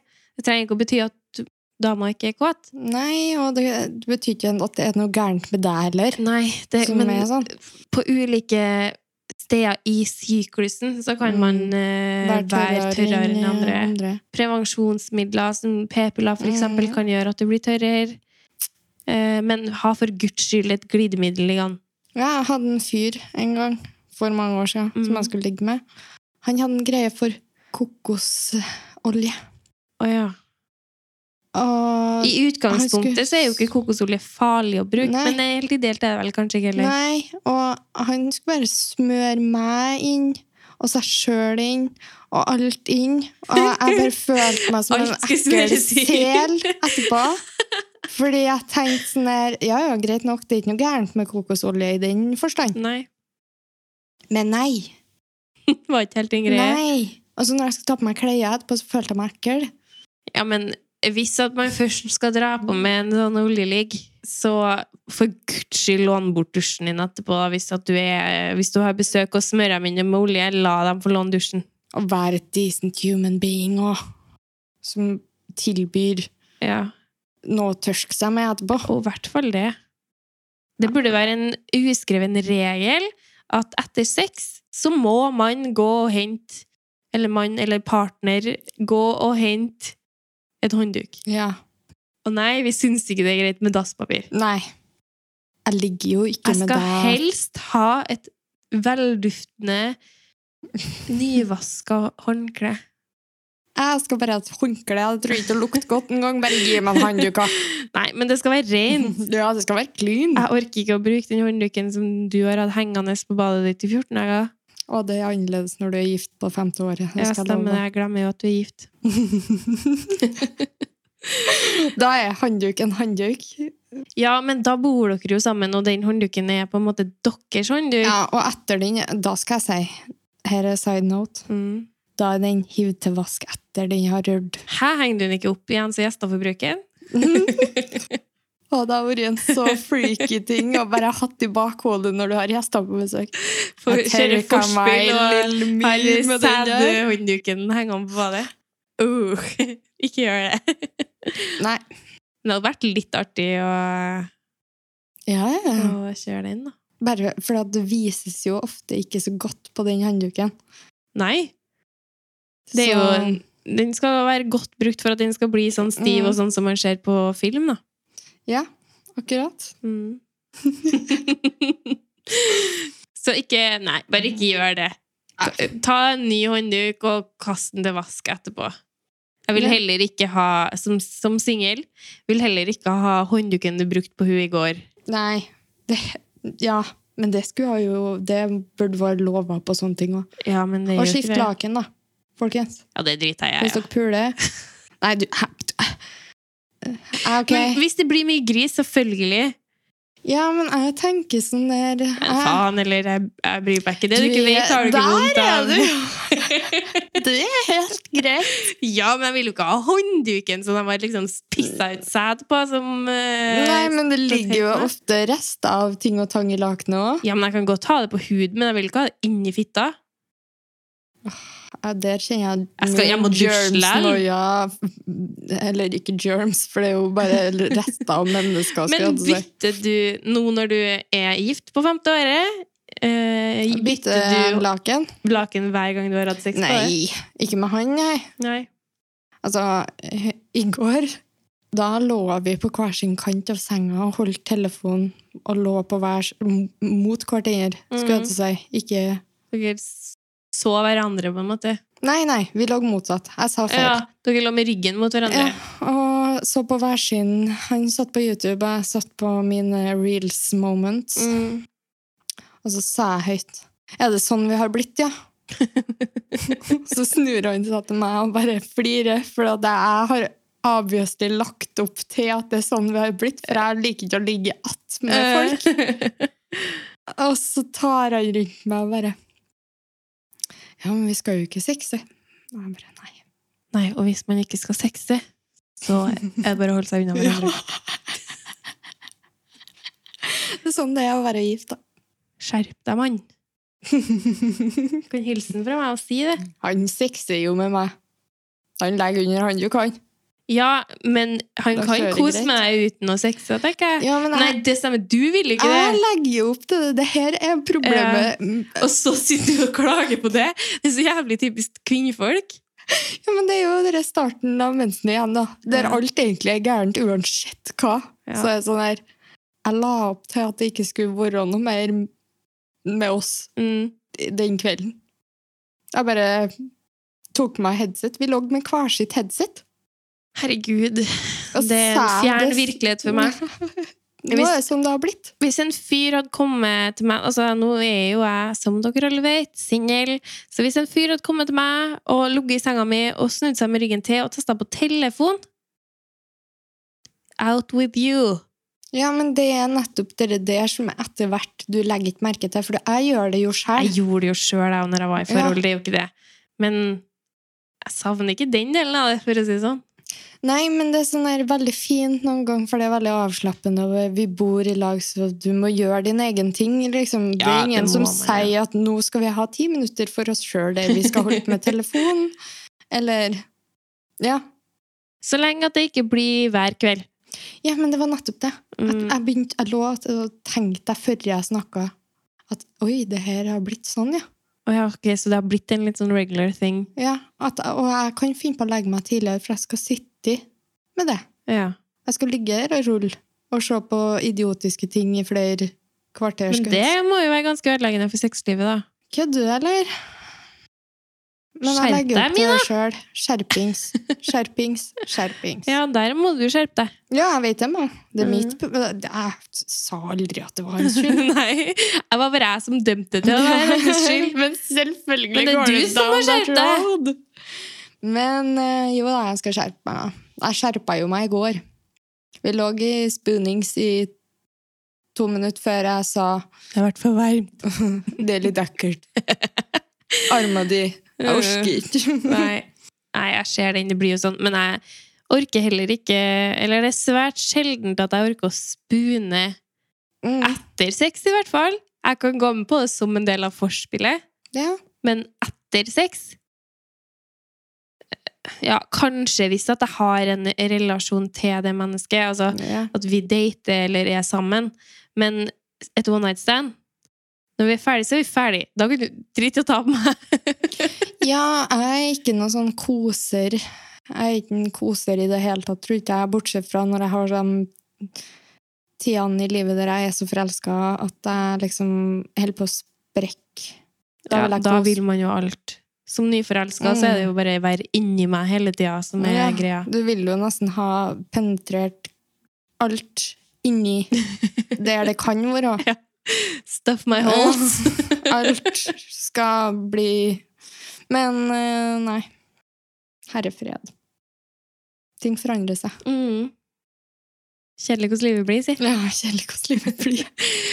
Speaker 1: Det trenger ikke å bety at dama ikke er kåt.
Speaker 2: Nei, og det, det betyr ikke at det er noe gærent med deg heller.
Speaker 1: Nei, det,
Speaker 2: Som
Speaker 1: men
Speaker 2: er sånn.
Speaker 1: på ulike steder i syklusen så kan
Speaker 2: Mm.
Speaker 1: man eh, være tørrere, enn andre. Prevensjonsmidler som p-piller for eksempel
Speaker 2: Mm.
Speaker 1: kan gjøre at du blir tørrere. Eh, men ha for guds skyld et glidemiddel i gang.
Speaker 2: Ja, jeg hadde en fyr en gang for mange år siden som
Speaker 1: Mhm.
Speaker 2: jeg skulle ligge med. Han hadde en greie for kokosolje.
Speaker 1: Å ja.
Speaker 2: Og
Speaker 1: I utgangspunktet så er jo ikke kokosolje farlig å bruke,
Speaker 2: Nei.
Speaker 1: men helt ideelt er det vel kanskje ikke heller.
Speaker 2: Nei, og han skulle bare smøre meg inn, og seg sjøl inn, og alt inn. Og jeg bare følte meg som
Speaker 1: <laughs>
Speaker 2: en
Speaker 1: Alt skulle
Speaker 2: ekkel
Speaker 1: smøres inn.
Speaker 2: sel etterpå. Fordi jeg tenkte sånn der Ja ja, greit nok, det er ikke noe gærent med kokosolje i den forstand.
Speaker 1: Nei.
Speaker 2: Men nei.
Speaker 1: Det var ikke helt din greie.
Speaker 2: Nei. Altså, når jeg skulle ta på meg klær etterpå, så følte jeg meg ekkel.
Speaker 1: Ja, men hvis at man først skal dra på med en sånn oljeligg, så for guds skyld lån bort dusjen din etterpå. da. Hvis, at du, er, hvis du har besøk og smører dem inn med olje, la dem få låne dusjen.
Speaker 2: Å være et decent human being òg. Som tilbyr
Speaker 1: Ja,
Speaker 2: noe å tørske seg med etterpå.
Speaker 1: Og i hvert fall det. Det burde være en uskreven regel at etter sex så må man gå og hente Eller mann eller partner gå og hente et håndduk.
Speaker 2: Ja.
Speaker 1: Å nei, vi syns ikke det er greit med dasspapir.
Speaker 2: Nei. Jeg ligger jo ikke
Speaker 1: Jeg
Speaker 2: med
Speaker 1: skal
Speaker 2: deg.
Speaker 1: helst ha et velduftende, nyvaska håndkle.
Speaker 2: Jeg skal bare ha et håndkle. Jeg tror ikke det lukter godt engang. Bare gi meg en håndduk. da.
Speaker 1: Nei, men det skal være rent.
Speaker 2: Ja, det skal være clean.
Speaker 1: Jeg orker ikke å bruke den håndduken som du har hatt hengende på badet ditt i 14 dager.
Speaker 2: Og det er annerledes når du er gift på femte året. Det
Speaker 1: Ja,
Speaker 2: skal jeg
Speaker 1: stemmer det.
Speaker 2: love.
Speaker 1: Jeg glemmer jo at du er gift.
Speaker 2: Da er håndduk en håndduk.
Speaker 1: Ja, men da bor dere jo sammen, og den håndduken er på en måte deres håndduk.
Speaker 2: Ja, og etter den, da skal jeg si Her er side note.
Speaker 1: Mm.
Speaker 2: Da er den hiv til vask etter den har rørt.
Speaker 1: <laughs> Her henger du den ikke opp igjen, så gjester får bruke den.
Speaker 2: Og det har vært en så freaky ting å bare ha hatt i bakhodet når du har gjester på besøk.
Speaker 1: For
Speaker 2: Jeg
Speaker 1: kjøre
Speaker 2: tørka meg
Speaker 1: forspill og
Speaker 2: lill myr
Speaker 1: har
Speaker 2: med den der.
Speaker 1: sædhåndduken hengende på badet. Uh, <laughs> ikke gjør det.
Speaker 2: Nei.
Speaker 1: Men det hadde vært litt artig å,
Speaker 2: Ja, ja.
Speaker 1: å kjøre den, da.
Speaker 2: Bare for at det vises jo ofte ikke så godt på den håndduken.
Speaker 1: Nei! Det er
Speaker 2: Så-
Speaker 1: jo, den skal være godt brukt for at den skal bli sånn stiv
Speaker 2: Mm.
Speaker 1: og sånn som man ser på film, da.
Speaker 2: Ja, akkurat.
Speaker 1: Mm. <laughs> Så ikke Nei, bare ikke gjør det. Ta, ta en ny håndduk og kast den til vask etterpå. Jeg vil
Speaker 2: Ja.
Speaker 1: heller ikke ha, som, som singel, vil heller ikke ha håndduken du brukte på hun i går.
Speaker 2: Nei. Det, ja, men det skulle ha jo Det burde være lova på sånne ting òg.
Speaker 1: Ja, men det
Speaker 2: Og
Speaker 1: gjør
Speaker 2: skift
Speaker 1: ikke det.
Speaker 2: laken, da. Folkens.
Speaker 1: Ja, det driter jeg i.
Speaker 2: Hvis
Speaker 1: Ja.
Speaker 2: dere puler Nei, du hæ, du- Eh, OK.
Speaker 1: Men hvis det blir mye gris, selvfølgelig.
Speaker 2: ja, men jeg tenker sånn der jeg,
Speaker 1: Men faen, eller jeg, jeg bryr meg ikke. Det du
Speaker 2: Du
Speaker 1: ikke
Speaker 2: er-
Speaker 1: vet, har du ikke
Speaker 2: der
Speaker 1: vondt
Speaker 2: er
Speaker 1: av.
Speaker 2: Det er helt <laughs> greit.
Speaker 1: Ja, men jeg vil jo ikke ha håndduken som de har liksom pissa ut sæd på, som eh,
Speaker 2: Nei, men det ligger jo
Speaker 1: tenkene.
Speaker 2: ofte rester av ting og tang i lakenet òg.
Speaker 1: Ja, men jeg kan godt ha det på hud, men jeg vil ikke ha det inni fitta.
Speaker 2: Ja, der kjenner jeg
Speaker 1: Jeg skal- jeg må dusje likevel.
Speaker 2: noia. Eller ikke germs, for det er jo bare rester av mennesker. skal
Speaker 1: Men
Speaker 2: jeg til å si.
Speaker 1: bytter du nå når du er gift på femte året? Eh, bytter
Speaker 2: Bytte
Speaker 1: du
Speaker 2: laken?
Speaker 1: laken hver gang du har hatt sex på det?
Speaker 2: Nei, ikke med han, nei.
Speaker 1: Nei.
Speaker 2: Altså, eh, i går da lå vi på hver sin kant av senga og holdt telefonen og lå på hver, s- m- mot hverandre, skulle
Speaker 1: Mhm.
Speaker 2: jeg til å si. Ikke
Speaker 1: Dere s- så hverandre, på en måte.
Speaker 2: Nei, nei, vi lå motsatt. Jeg sa feil.
Speaker 1: Ja, dere lå med ryggen mot hverandre.
Speaker 2: Ja, og så på hver sin Han satt på YouTube, og jeg satt på mine reels moments.
Speaker 1: Mm.
Speaker 2: Og så sa jeg høyt Er det sånn vi har blitt, <laughs> ja? så snur han seg til meg og bare flirer, for at jeg har obviously lagt opp til at det er sånn vi har blitt, for jeg liker ikke å ligge att med folk.
Speaker 1: Eh, <laughs>
Speaker 2: Og så tar han rundt meg og bare Ja, men vi skal jo ikke sexe. Og jeg bare nei.
Speaker 1: Nei, og hvis man ikke skal sexe, så er det bare å holde seg unna
Speaker 2: <laughs>
Speaker 1: hverandre.
Speaker 2: Det er sånn det er å være gift, da.
Speaker 1: Skjerp deg, mann. Kan hilsen fra meg og si det.
Speaker 2: <laughs> Han sexer jo med meg. Han legger under han du kan.
Speaker 1: Ja, men han
Speaker 2: Da
Speaker 1: kan
Speaker 2: kjører det
Speaker 1: kose
Speaker 2: greit.
Speaker 1: med deg uten å sexe, tenker jeg.
Speaker 2: Ja, men
Speaker 1: Nei,
Speaker 2: jeg,
Speaker 1: det stemmer. Du vil jo ikke
Speaker 2: jeg
Speaker 1: det.
Speaker 2: legger jo opp til det. Det her er problemet.
Speaker 1: Og så sitter du og klager på det. Det er så jævlig typisk kvinnfolk.
Speaker 2: Ja, men Det er jo det starten av mensen igjen, da. Der
Speaker 1: Ja.
Speaker 2: alt egentlig er gærent uansett hva.
Speaker 1: Ja.
Speaker 2: Så er det sånn her Jeg la opp til at det ikke skulle være noe mer med oss
Speaker 1: Mm.
Speaker 2: den kvelden. Jeg bare tok meg headset. Vi lå med hver sitt headset.
Speaker 1: Herregud,
Speaker 2: Og
Speaker 1: det er en
Speaker 2: sa
Speaker 1: fjern
Speaker 2: det-
Speaker 1: virkelighet for meg.
Speaker 2: <laughs> Nå er det sånn det har blitt.
Speaker 1: Hvis en fyr hadde kommet til meg altså Nå er jo jeg, som dere alle vet, singel. Så hvis en fyr hadde kommet til meg og ligget i senga mi og snudd seg med ryggen til og testa på telefon Out with you!
Speaker 2: Ja, men det er nettopp det der som etter hvert du legger ikke merke til, for jeg gjør det jo
Speaker 1: Jeg
Speaker 2: sjøl.
Speaker 1: gjorde det jo sjøl når jeg var i forhold, det er jo ikke det. Men jeg savner ikke den delen av det, for å si det sånn.
Speaker 2: Nei, men det er sånn her veldig fint noen gang, for det er veldig avslappende. og Vi bor i lag, så du må gjøre din egen ting. Liksom. det
Speaker 1: Ja,
Speaker 2: er
Speaker 1: det
Speaker 2: ingen
Speaker 1: må
Speaker 2: som
Speaker 1: man, ja.
Speaker 2: sier at nå skal vi ha ti minutter for oss sjøl, eller vi skal holde på med telefonen, <laughs> eller Ja.
Speaker 1: Så lenge at det ikke blir hver kveld. Mm.
Speaker 2: Ja, men det var nettopp det. At jeg, begynte, jeg lå og tenkte før jeg snakka at oi, det her har blitt sånn, ja.
Speaker 1: Å ja, ok, Så det har blitt en litt sånn regular thing?
Speaker 2: ja at, og jeg kan finne på å legge meg tidligere, for jeg skal sitte med det.
Speaker 1: Ja.
Speaker 2: Jeg skal ligge her og rulle og se på idiotiske ting i flere kvarter.
Speaker 1: Men
Speaker 2: skal
Speaker 1: det
Speaker 2: jeg si.
Speaker 1: må jo være ganske ødeleggende for sexlivet, da.
Speaker 2: Kødder du, eller? Men jeg
Speaker 1: Skjerp
Speaker 2: legger
Speaker 1: deg,
Speaker 2: opp til det sjøl. Skjerpings,
Speaker 1: <laughs>
Speaker 2: skjerpings, skjerpings.
Speaker 1: Ja, der må du skjerpe deg.
Speaker 2: Ja, jeg vet det, men det er
Speaker 1: Mm.
Speaker 2: mitt pro- Jeg sa aldri at det var hans skyld.
Speaker 1: <laughs> Nei, det var bare jeg som dømte til det.
Speaker 2: <laughs>
Speaker 1: det var hennes skyld.
Speaker 2: Men selvfølgelig
Speaker 1: Men det er
Speaker 2: går
Speaker 1: du som
Speaker 2: down
Speaker 1: må skjerpe
Speaker 2: that
Speaker 1: deg.
Speaker 2: road. Men eh, jo da, jeg skal skjerpe meg. Jeg skjerpa jo meg i går. Vi lå i spoonings i to minutter før jeg sa
Speaker 1: Det har vært for varmt.
Speaker 2: Det er litt ekkelt. <laughs> Arma di. Jeg orker <laughs> ikke.
Speaker 1: Nei. Nei, jeg ser den. Det blir jo sånn. Men jeg orker heller ikke Eller det er svært sjeldent at jeg orker å spune
Speaker 2: Mm,
Speaker 1: etter sex, i hvert fall. Jeg kan gå med på det som en del av forspillet,
Speaker 2: ja.
Speaker 1: men etter sex Ja, kanskje hvis at jeg har en relasjon til det mennesket. altså
Speaker 2: ja.
Speaker 1: at vi dater eller er sammen, men et one night stand Når vi er ferdig, så er vi ferdig. Da kan du drite i å ta på meg.
Speaker 2: Ja, jeg er ikke noen sånn koser. Jeg er ikke en koser i det hele tatt, tror ikke jeg, bortsett fra når jeg har sånn tidene i livet der jeg er så forelska at jeg liksom holder på å sprekke.
Speaker 1: Da,
Speaker 2: vil jeg
Speaker 1: da
Speaker 2: kose.
Speaker 1: vil man jo alt. Som nyforelska så er det jo bare å være inni meg hele tida som er
Speaker 2: Ja.
Speaker 1: greia.
Speaker 2: Du vil jo nesten ha penetrert alt inni <laughs> der det kan være.
Speaker 1: <laughs> Stuff my holes.
Speaker 2: <laughs> Alt skal bli Men eh, nei. Herre fred. Ting forandrer seg.
Speaker 1: <laughs> Mm. Kjedelig hvordan livet blir, si.
Speaker 2: Ja, kjedelig hvordan livet blir.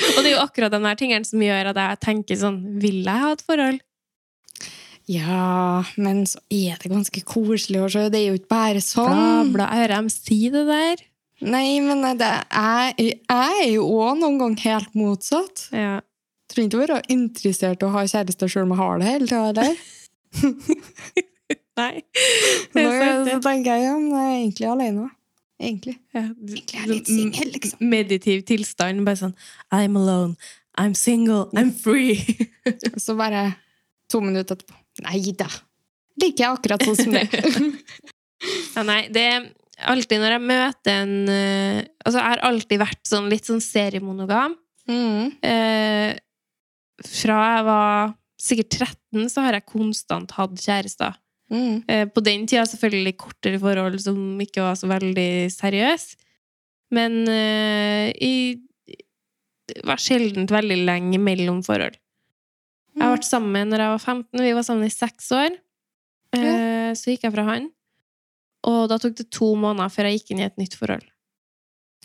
Speaker 1: Og det er jo akkurat de der tingene som gjør at jeg tenker sånn Vil jeg ha et forhold?
Speaker 2: <laughs> Ja, men så er det ganske koselig å se. Det er jo ikke bare
Speaker 1: Bla,
Speaker 2: sånn.
Speaker 1: bla. Jeg hører dem si det der.
Speaker 2: Nei, men eh, det er, jeg er jo òg noen gang helt motsatt.
Speaker 1: Ja.
Speaker 2: Trenger ikke være interessert i å ha kjæreste sjøl om jeg har det hele tida, eller?
Speaker 1: Nei. <laughs> Det
Speaker 2: Nå
Speaker 1: er sant,
Speaker 2: så
Speaker 1: det.
Speaker 2: tenker jeg ja, men jeg er egentlig alene. Egentlig.
Speaker 1: Ja.
Speaker 2: Egentlig er jeg litt singel, liksom.
Speaker 1: meditiv tilstand. Bare sånn I'm alone. I'm single. I'm free.
Speaker 2: Så bare to minutter etterpå. Nei da. Liker jeg akkurat sånn som det.
Speaker 1: <laughs> ja, nei, det er alltid når jeg møter en eh, Altså, jeg har alltid vært sånn litt sånn seriemonogam.
Speaker 2: mm.
Speaker 1: Eh, fra jeg var sikkert 13, så har jeg konstant hatt kjærester.
Speaker 2: Mm.
Speaker 1: Eh, på den tida selvfølgelig kortere forhold som ikke var så veldig seriøse. Men eh, i det var sjelden veldig lenge mellom forhold. Jeg ble sammen med når jeg var 15. Vi var sammen i seks år. Eh, Så gikk jeg fra han. Og da tok det to måneder før jeg gikk inn i et nytt forhold.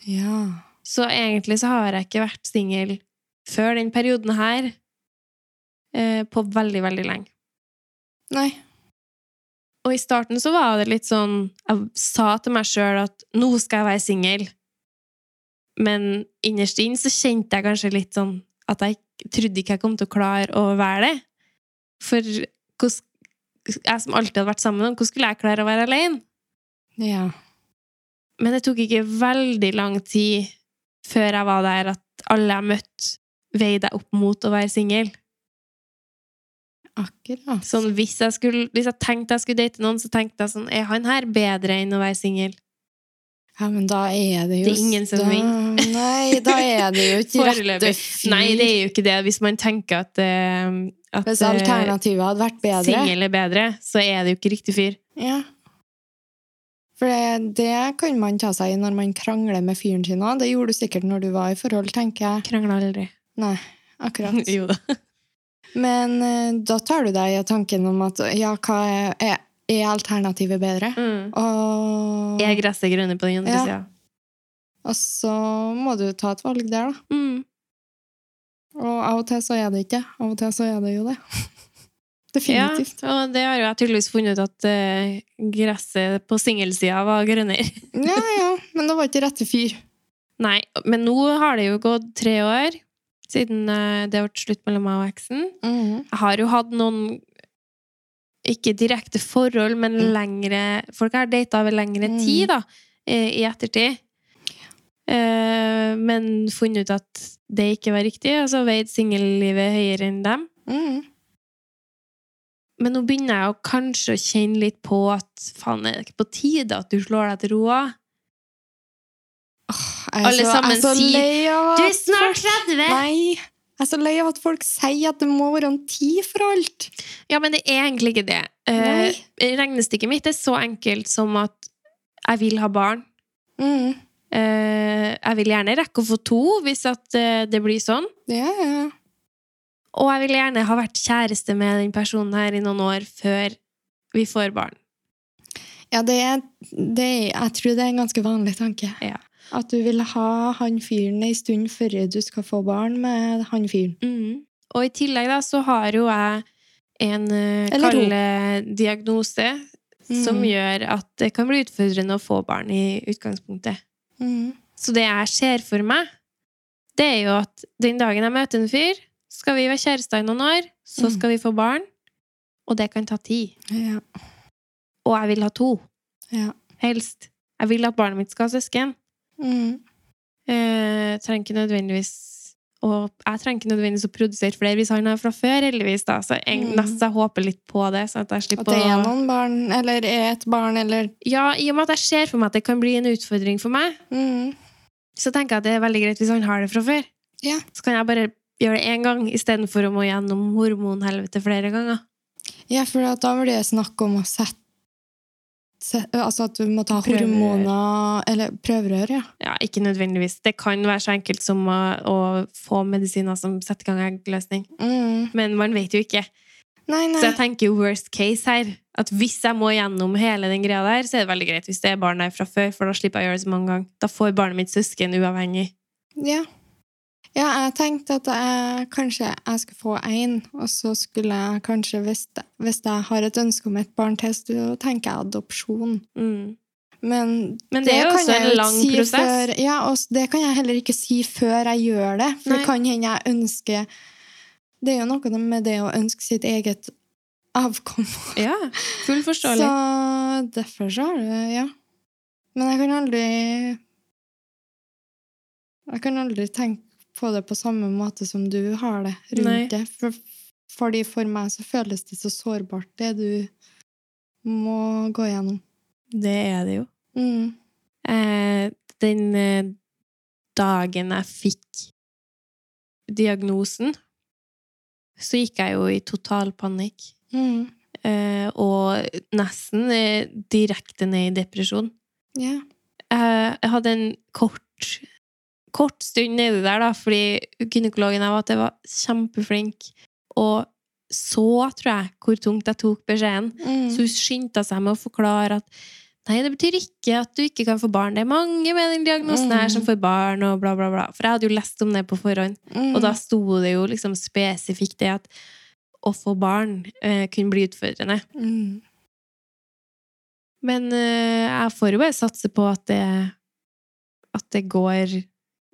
Speaker 2: Ja.
Speaker 1: Så egentlig så har jeg ikke vært singel før den perioden her eh, på veldig, veldig lenge.
Speaker 2: Nei.
Speaker 1: Og i starten så var det litt sånn Jeg sa til meg sjøl at nå skal jeg være singel. Men innerst inne så kjente jeg kanskje litt sånn at jeg ikke- trodde ikke jeg kom til å klare å være det. For hvordan- jeg som alltid hadde vært sammen med noen, hvordan skulle jeg klare å være alene?
Speaker 2: Ja.
Speaker 1: Men det tok ikke veldig lang tid før jeg var der at alle jeg møtte, veide jeg opp mot å være singel.
Speaker 2: Akkurat.
Speaker 1: Sånn, hvis, jeg skulle- hvis jeg tenkte jeg skulle date noen, så tenkte jeg sånn Er han her bedre enn å være singel?
Speaker 2: Ja, men da er det jo
Speaker 1: Det er ingen som
Speaker 2: da-
Speaker 1: vinner.
Speaker 2: <laughs> Nei, da er det jo ikke rette
Speaker 1: Foreløpig.
Speaker 2: fyr.
Speaker 1: Nei, det er jo ikke det. Hvis man tenker at, eh, at
Speaker 2: Hvis alternativet hadde vært bedre.
Speaker 1: singel er bedre, så er det jo ikke riktig fyr.
Speaker 2: Ja. For det, det kan man ta seg i når man krangler med fyren sin òg. Det gjorde du sikkert når du var i forhold, tenker jeg.
Speaker 1: Krangler aldri.
Speaker 2: Nei,
Speaker 1: <laughs>
Speaker 2: akkurat.
Speaker 1: jo da.
Speaker 2: Men eh, da tar du deg i tanken om at ja, hva er, er, er alternativet bedre?
Speaker 1: Mm.
Speaker 2: Og,
Speaker 1: Er gresset grønne på den andre
Speaker 2: Ja.
Speaker 1: sida?
Speaker 2: og så må du ta et valg der, da.
Speaker 1: Mm.
Speaker 2: Og av og til så er det ikke det. Av og til så er det jo det. <laughs>
Speaker 1: Ja,
Speaker 2: Definitivt.
Speaker 1: og det har jo jeg tydeligvis funnet ut at eh, gresset på singelsida var grønnere.
Speaker 2: Ja, ja, men det var ikke rette fyr.
Speaker 1: <laughs> Nei, men nå har det jo gått tre år siden eh, det ble slutt mellom meg og eksen.
Speaker 2: Mhm.
Speaker 1: Jeg har jo hatt noen ikke direkte forhold, men
Speaker 2: Mm.
Speaker 1: lengre Folk jeg har data over lengre
Speaker 2: Mm.
Speaker 1: tid, da, eh, i ettertid. Eh, eh, men funnet ut at det ikke var riktig, og så veide singellivet høyere enn dem.
Speaker 2: Mm.
Speaker 1: Men nå begynner jeg å kanskje å kjenne litt på at faen, er det ikke på tide at du slår deg til ro? da?
Speaker 2: Jeg er
Speaker 1: Alle
Speaker 2: så, jeg
Speaker 1: sammen
Speaker 2: er så
Speaker 1: sier,
Speaker 2: lei av
Speaker 1: Du er
Speaker 2: at
Speaker 1: snart
Speaker 2: folk-
Speaker 1: 30!
Speaker 2: Nei. Jeg er så lei av at folk sier at det må være en tid for alt.
Speaker 1: Ja, men det er egentlig ikke det. Eh, regnestykket mitt er så enkelt som at jeg vil ha barn.
Speaker 2: Mm.
Speaker 1: Eh, jeg vil gjerne rekke å få to hvis at eh, det blir sånn.
Speaker 2: Ja, ja.
Speaker 1: Og jeg vil gjerne ha vært kjæreste med den personen her i noen år før vi får barn.
Speaker 2: ja det er, det er, jeg tror det er en ganske vanlig tanke.
Speaker 1: Ja.
Speaker 2: At du vil ha han fyren ei stund før du skal få barn med han fyren.
Speaker 1: Mm. Og i tillegg da, så har jo jeg en eh,
Speaker 2: Eller ro.
Speaker 1: kalle diagnose som
Speaker 2: Mhm.
Speaker 1: gjør at det kan bli utfordrende å få barn i utgangspunktet.
Speaker 2: Mm.
Speaker 1: Så det jeg ser for meg, det er jo at den dagen jeg møter en fyr, skal vi være kjærester i noen år, så
Speaker 2: Mm.
Speaker 1: skal vi få barn, og det kan ta tid.
Speaker 2: Ja.
Speaker 1: Og jeg vil ha to.
Speaker 2: Ja.
Speaker 1: Helst. Jeg vil at barnet mitt skal ha søsken.
Speaker 2: Mm.
Speaker 1: Eh, trenger ikke nødvendigvis Og jeg trenger ikke nødvendigvis å produsere flere hvis han har fra før, heldigvis. da, Så jeg,
Speaker 2: Mm.
Speaker 1: nesten jeg håper litt på det. sånn at jeg
Speaker 2: At
Speaker 1: slipper
Speaker 2: det er
Speaker 1: å...
Speaker 2: noen barn, eller er et barn, eller
Speaker 1: Ja, I og med at jeg ser for meg at det kan bli en utfordring for meg,
Speaker 2: mm.
Speaker 1: så tenker jeg at det er veldig greit hvis han har det fra før.
Speaker 2: Ja.
Speaker 1: Så kan jeg bare gjøre det én gang istedenfor å må gjennom hormonhelvete flere ganger.
Speaker 2: Ja, for at da blir det snakk om å sette se- Altså at du må ta
Speaker 1: Prøverør.
Speaker 2: hormoner Eller prøverør, ja.
Speaker 1: Ja, Ikke nødvendigvis. Det kan være så enkelt som å, å få medisiner som setter i gang eggløsning.
Speaker 2: Mm.
Speaker 1: Men man vet jo ikke.
Speaker 2: Nei, nei.
Speaker 1: Så jeg tenker jo worst case her. At hvis jeg må gjennom hele den greia der, så er det veldig greit hvis det er barn der fra før, for da slipper jeg å gjøre det så mange ganger. Da får barnet mitt søsken uavhengig.
Speaker 2: Ja. ja, jeg tenkte at jeg kanskje jeg skulle få én, og så skulle jeg kanskje, hvis, hvis jeg har et ønske om et barn til, så tenker jeg adopsjon.
Speaker 1: Mm.
Speaker 2: Men,
Speaker 1: Men det er jo
Speaker 2: kan
Speaker 1: også
Speaker 2: jeg
Speaker 1: en
Speaker 2: ikke
Speaker 1: lang
Speaker 2: si
Speaker 1: prosess.
Speaker 2: Før, ja, og s- det kan jeg heller ikke si før jeg gjør det, for
Speaker 1: Nei.
Speaker 2: det kan hende jeg ønsker Det er jo noe med det å ønske sitt eget avkom.
Speaker 1: <laughs> <laughs> Ja, full
Speaker 2: Så
Speaker 1: forståelig.
Speaker 2: derfor så har det Ja. Men jeg kan aldri Jeg kan aldri tenke på det på samme måte som du har det rundt
Speaker 1: Nei.
Speaker 2: det. For, fordi for meg så føles det så sårbart, det du må gå gjennom.
Speaker 1: Det er det jo.
Speaker 2: Mm.
Speaker 1: Eh, den eh, dagen jeg fikk diagnosen, så gikk jeg jo i total panikk.
Speaker 2: Mm.
Speaker 1: Eh, og nesten eh, direkte ned i depresjon.
Speaker 2: Ja.
Speaker 1: jeg Eh, jeg hadde en kort, kort stund nedi der, da, fordi gynekologen jeg var til, var kjempeflink. Og så, tror jeg, hvor tungt jeg tok beskjeden.
Speaker 2: Mm.
Speaker 1: Så hun skyndte seg med å forklare at nei, det betyr ikke at du ikke kan få barn. Det er mange med den diagnosen her som får barn, og bla, bla, bla. For jeg hadde jo lest om det på forhånd.
Speaker 2: Mm.
Speaker 1: Og da sto det jo liksom spesifikt det at å få barn eh, kunne bli utfordrende.
Speaker 2: mm.
Speaker 1: Men eh, jeg får jo bare satse på at det, at det går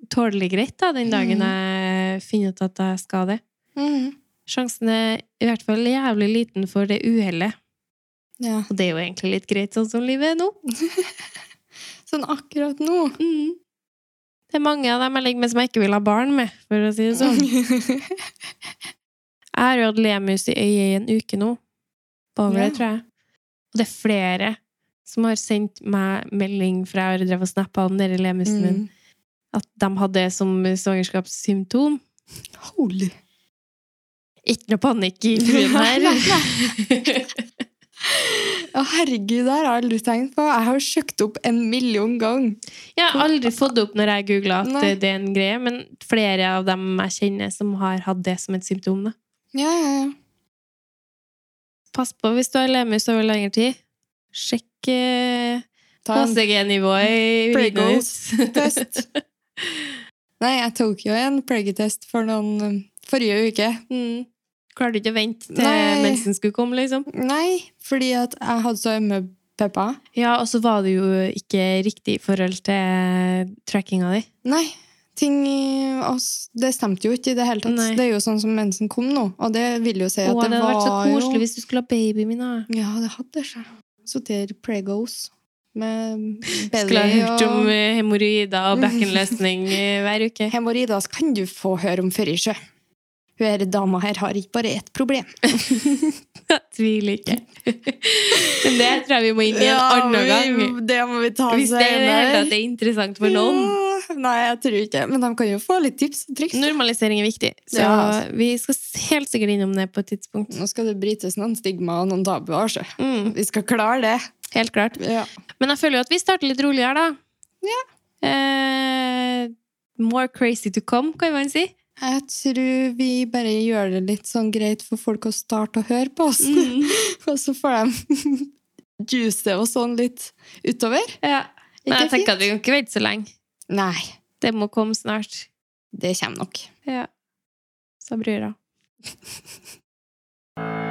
Speaker 1: tålelig greit da, den dagen
Speaker 2: Mhm.
Speaker 1: jeg finner ut at jeg skal det.
Speaker 2: Mm.
Speaker 1: Sjansen er i hvert fall jævlig liten for det uhellet.
Speaker 2: Ja.
Speaker 1: Og det er jo egentlig litt greit sånn som livet er nå.
Speaker 2: Sånn akkurat nå.
Speaker 1: Mhm. Det er mange av dem jeg ligger med som jeg ikke vil ha barn med, for å si det
Speaker 2: <laughs>
Speaker 1: sånn.
Speaker 2: Mm.
Speaker 1: Jeg har jo hatt lemus i øyet i en uke nå. Bare over
Speaker 2: Ja.
Speaker 1: det, tror jeg. Og det er flere som har sendt meg melding fra jeg har drevet og snappa om denne lemusen min.
Speaker 2: mm.
Speaker 1: at de hadde det som svangerskapssymptom.
Speaker 2: Holy.
Speaker 1: Ikke noe panikk
Speaker 2: <laughs>
Speaker 1: i fruen
Speaker 2: Nei,
Speaker 1: her.
Speaker 2: Å, herregud, det har jeg aldri tenkt på. Jeg har søkt opp en million ganger.
Speaker 1: <laughs> jeg har aldri fått det opp når jeg googla at
Speaker 2: Nei.
Speaker 1: det er en greie, men flere av dem jeg kjenner som har hatt det som et symptom. Da.
Speaker 2: Ja, ja, ja.
Speaker 1: Pass på hvis du har lemus over lengre tid. Sjekk eh,
Speaker 2: Ta en
Speaker 1: HCG-nivået i urinen
Speaker 2: Pringles.
Speaker 1: ditt.
Speaker 2: <laughs> test. Nei, jeg tok jo en preggetest for noen um, forrige uke.
Speaker 1: <laughs> mm. Klarer du ikke å vente til
Speaker 2: Nei.
Speaker 1: mensen skulle komme, liksom?
Speaker 2: Nei, fordi at jeg hadde så ømme pepper.
Speaker 1: Ja, og så var det jo ikke riktig i forhold til trackinga di.
Speaker 2: Nei, ting i oss, det stemte jo ikke i det hele tatt.
Speaker 1: Nei.
Speaker 2: Det er jo sånn som mensen kom nå, og det vil jo si at
Speaker 1: Å, det hadde
Speaker 2: det, var
Speaker 1: vært så koselig
Speaker 2: jo...
Speaker 1: hvis du skulle ha babyen min. da.
Speaker 2: Ja, det hadde seg. Så det er pregos. Med
Speaker 1: Skulle ha
Speaker 2: belly
Speaker 1: hørt om
Speaker 2: og
Speaker 1: eh,
Speaker 2: <laughs>
Speaker 1: hemoroider og bekkenløsning eh, hver uke.
Speaker 2: Hemoroider kan du få høre om før i sjø. Hun her dama her har ikke bare ett problem.
Speaker 1: Jeg tviler ikke. <laughs> Men det tror jeg vi må inn i en annen gang.
Speaker 2: Det må vi ta
Speaker 1: Hvis det i det hele tatt er interessant for noen.
Speaker 2: Ja, nei, jeg tror ikke det. Men de kan jo få litt tips og triks.
Speaker 1: Normalisering er viktig, så
Speaker 2: Ja, altså.
Speaker 1: vi skal helt sikkert innom det på et tidspunkt.
Speaker 2: Nå skal det brytes noen stigma og noen tabuer. så
Speaker 1: Mm,
Speaker 2: Vi skal klare det.
Speaker 1: helt klart.
Speaker 2: Ja.
Speaker 1: Men jeg føler jo at vi starter litt roligere, da. Eh, more crazy to come, kan man si.
Speaker 2: Jeg tror vi bare gjør det litt sånn greit for folk å starte å høre på oss. Og så får de <laughs> juice og sånn litt utover.
Speaker 1: <laughs> Ja. Men
Speaker 2: Ikke
Speaker 1: jeg tenker at vi kan ikke vente så lenge.
Speaker 2: Nei,
Speaker 1: Det må komme snart.
Speaker 2: det kommer nok.
Speaker 1: Ja. Så bryr jeg.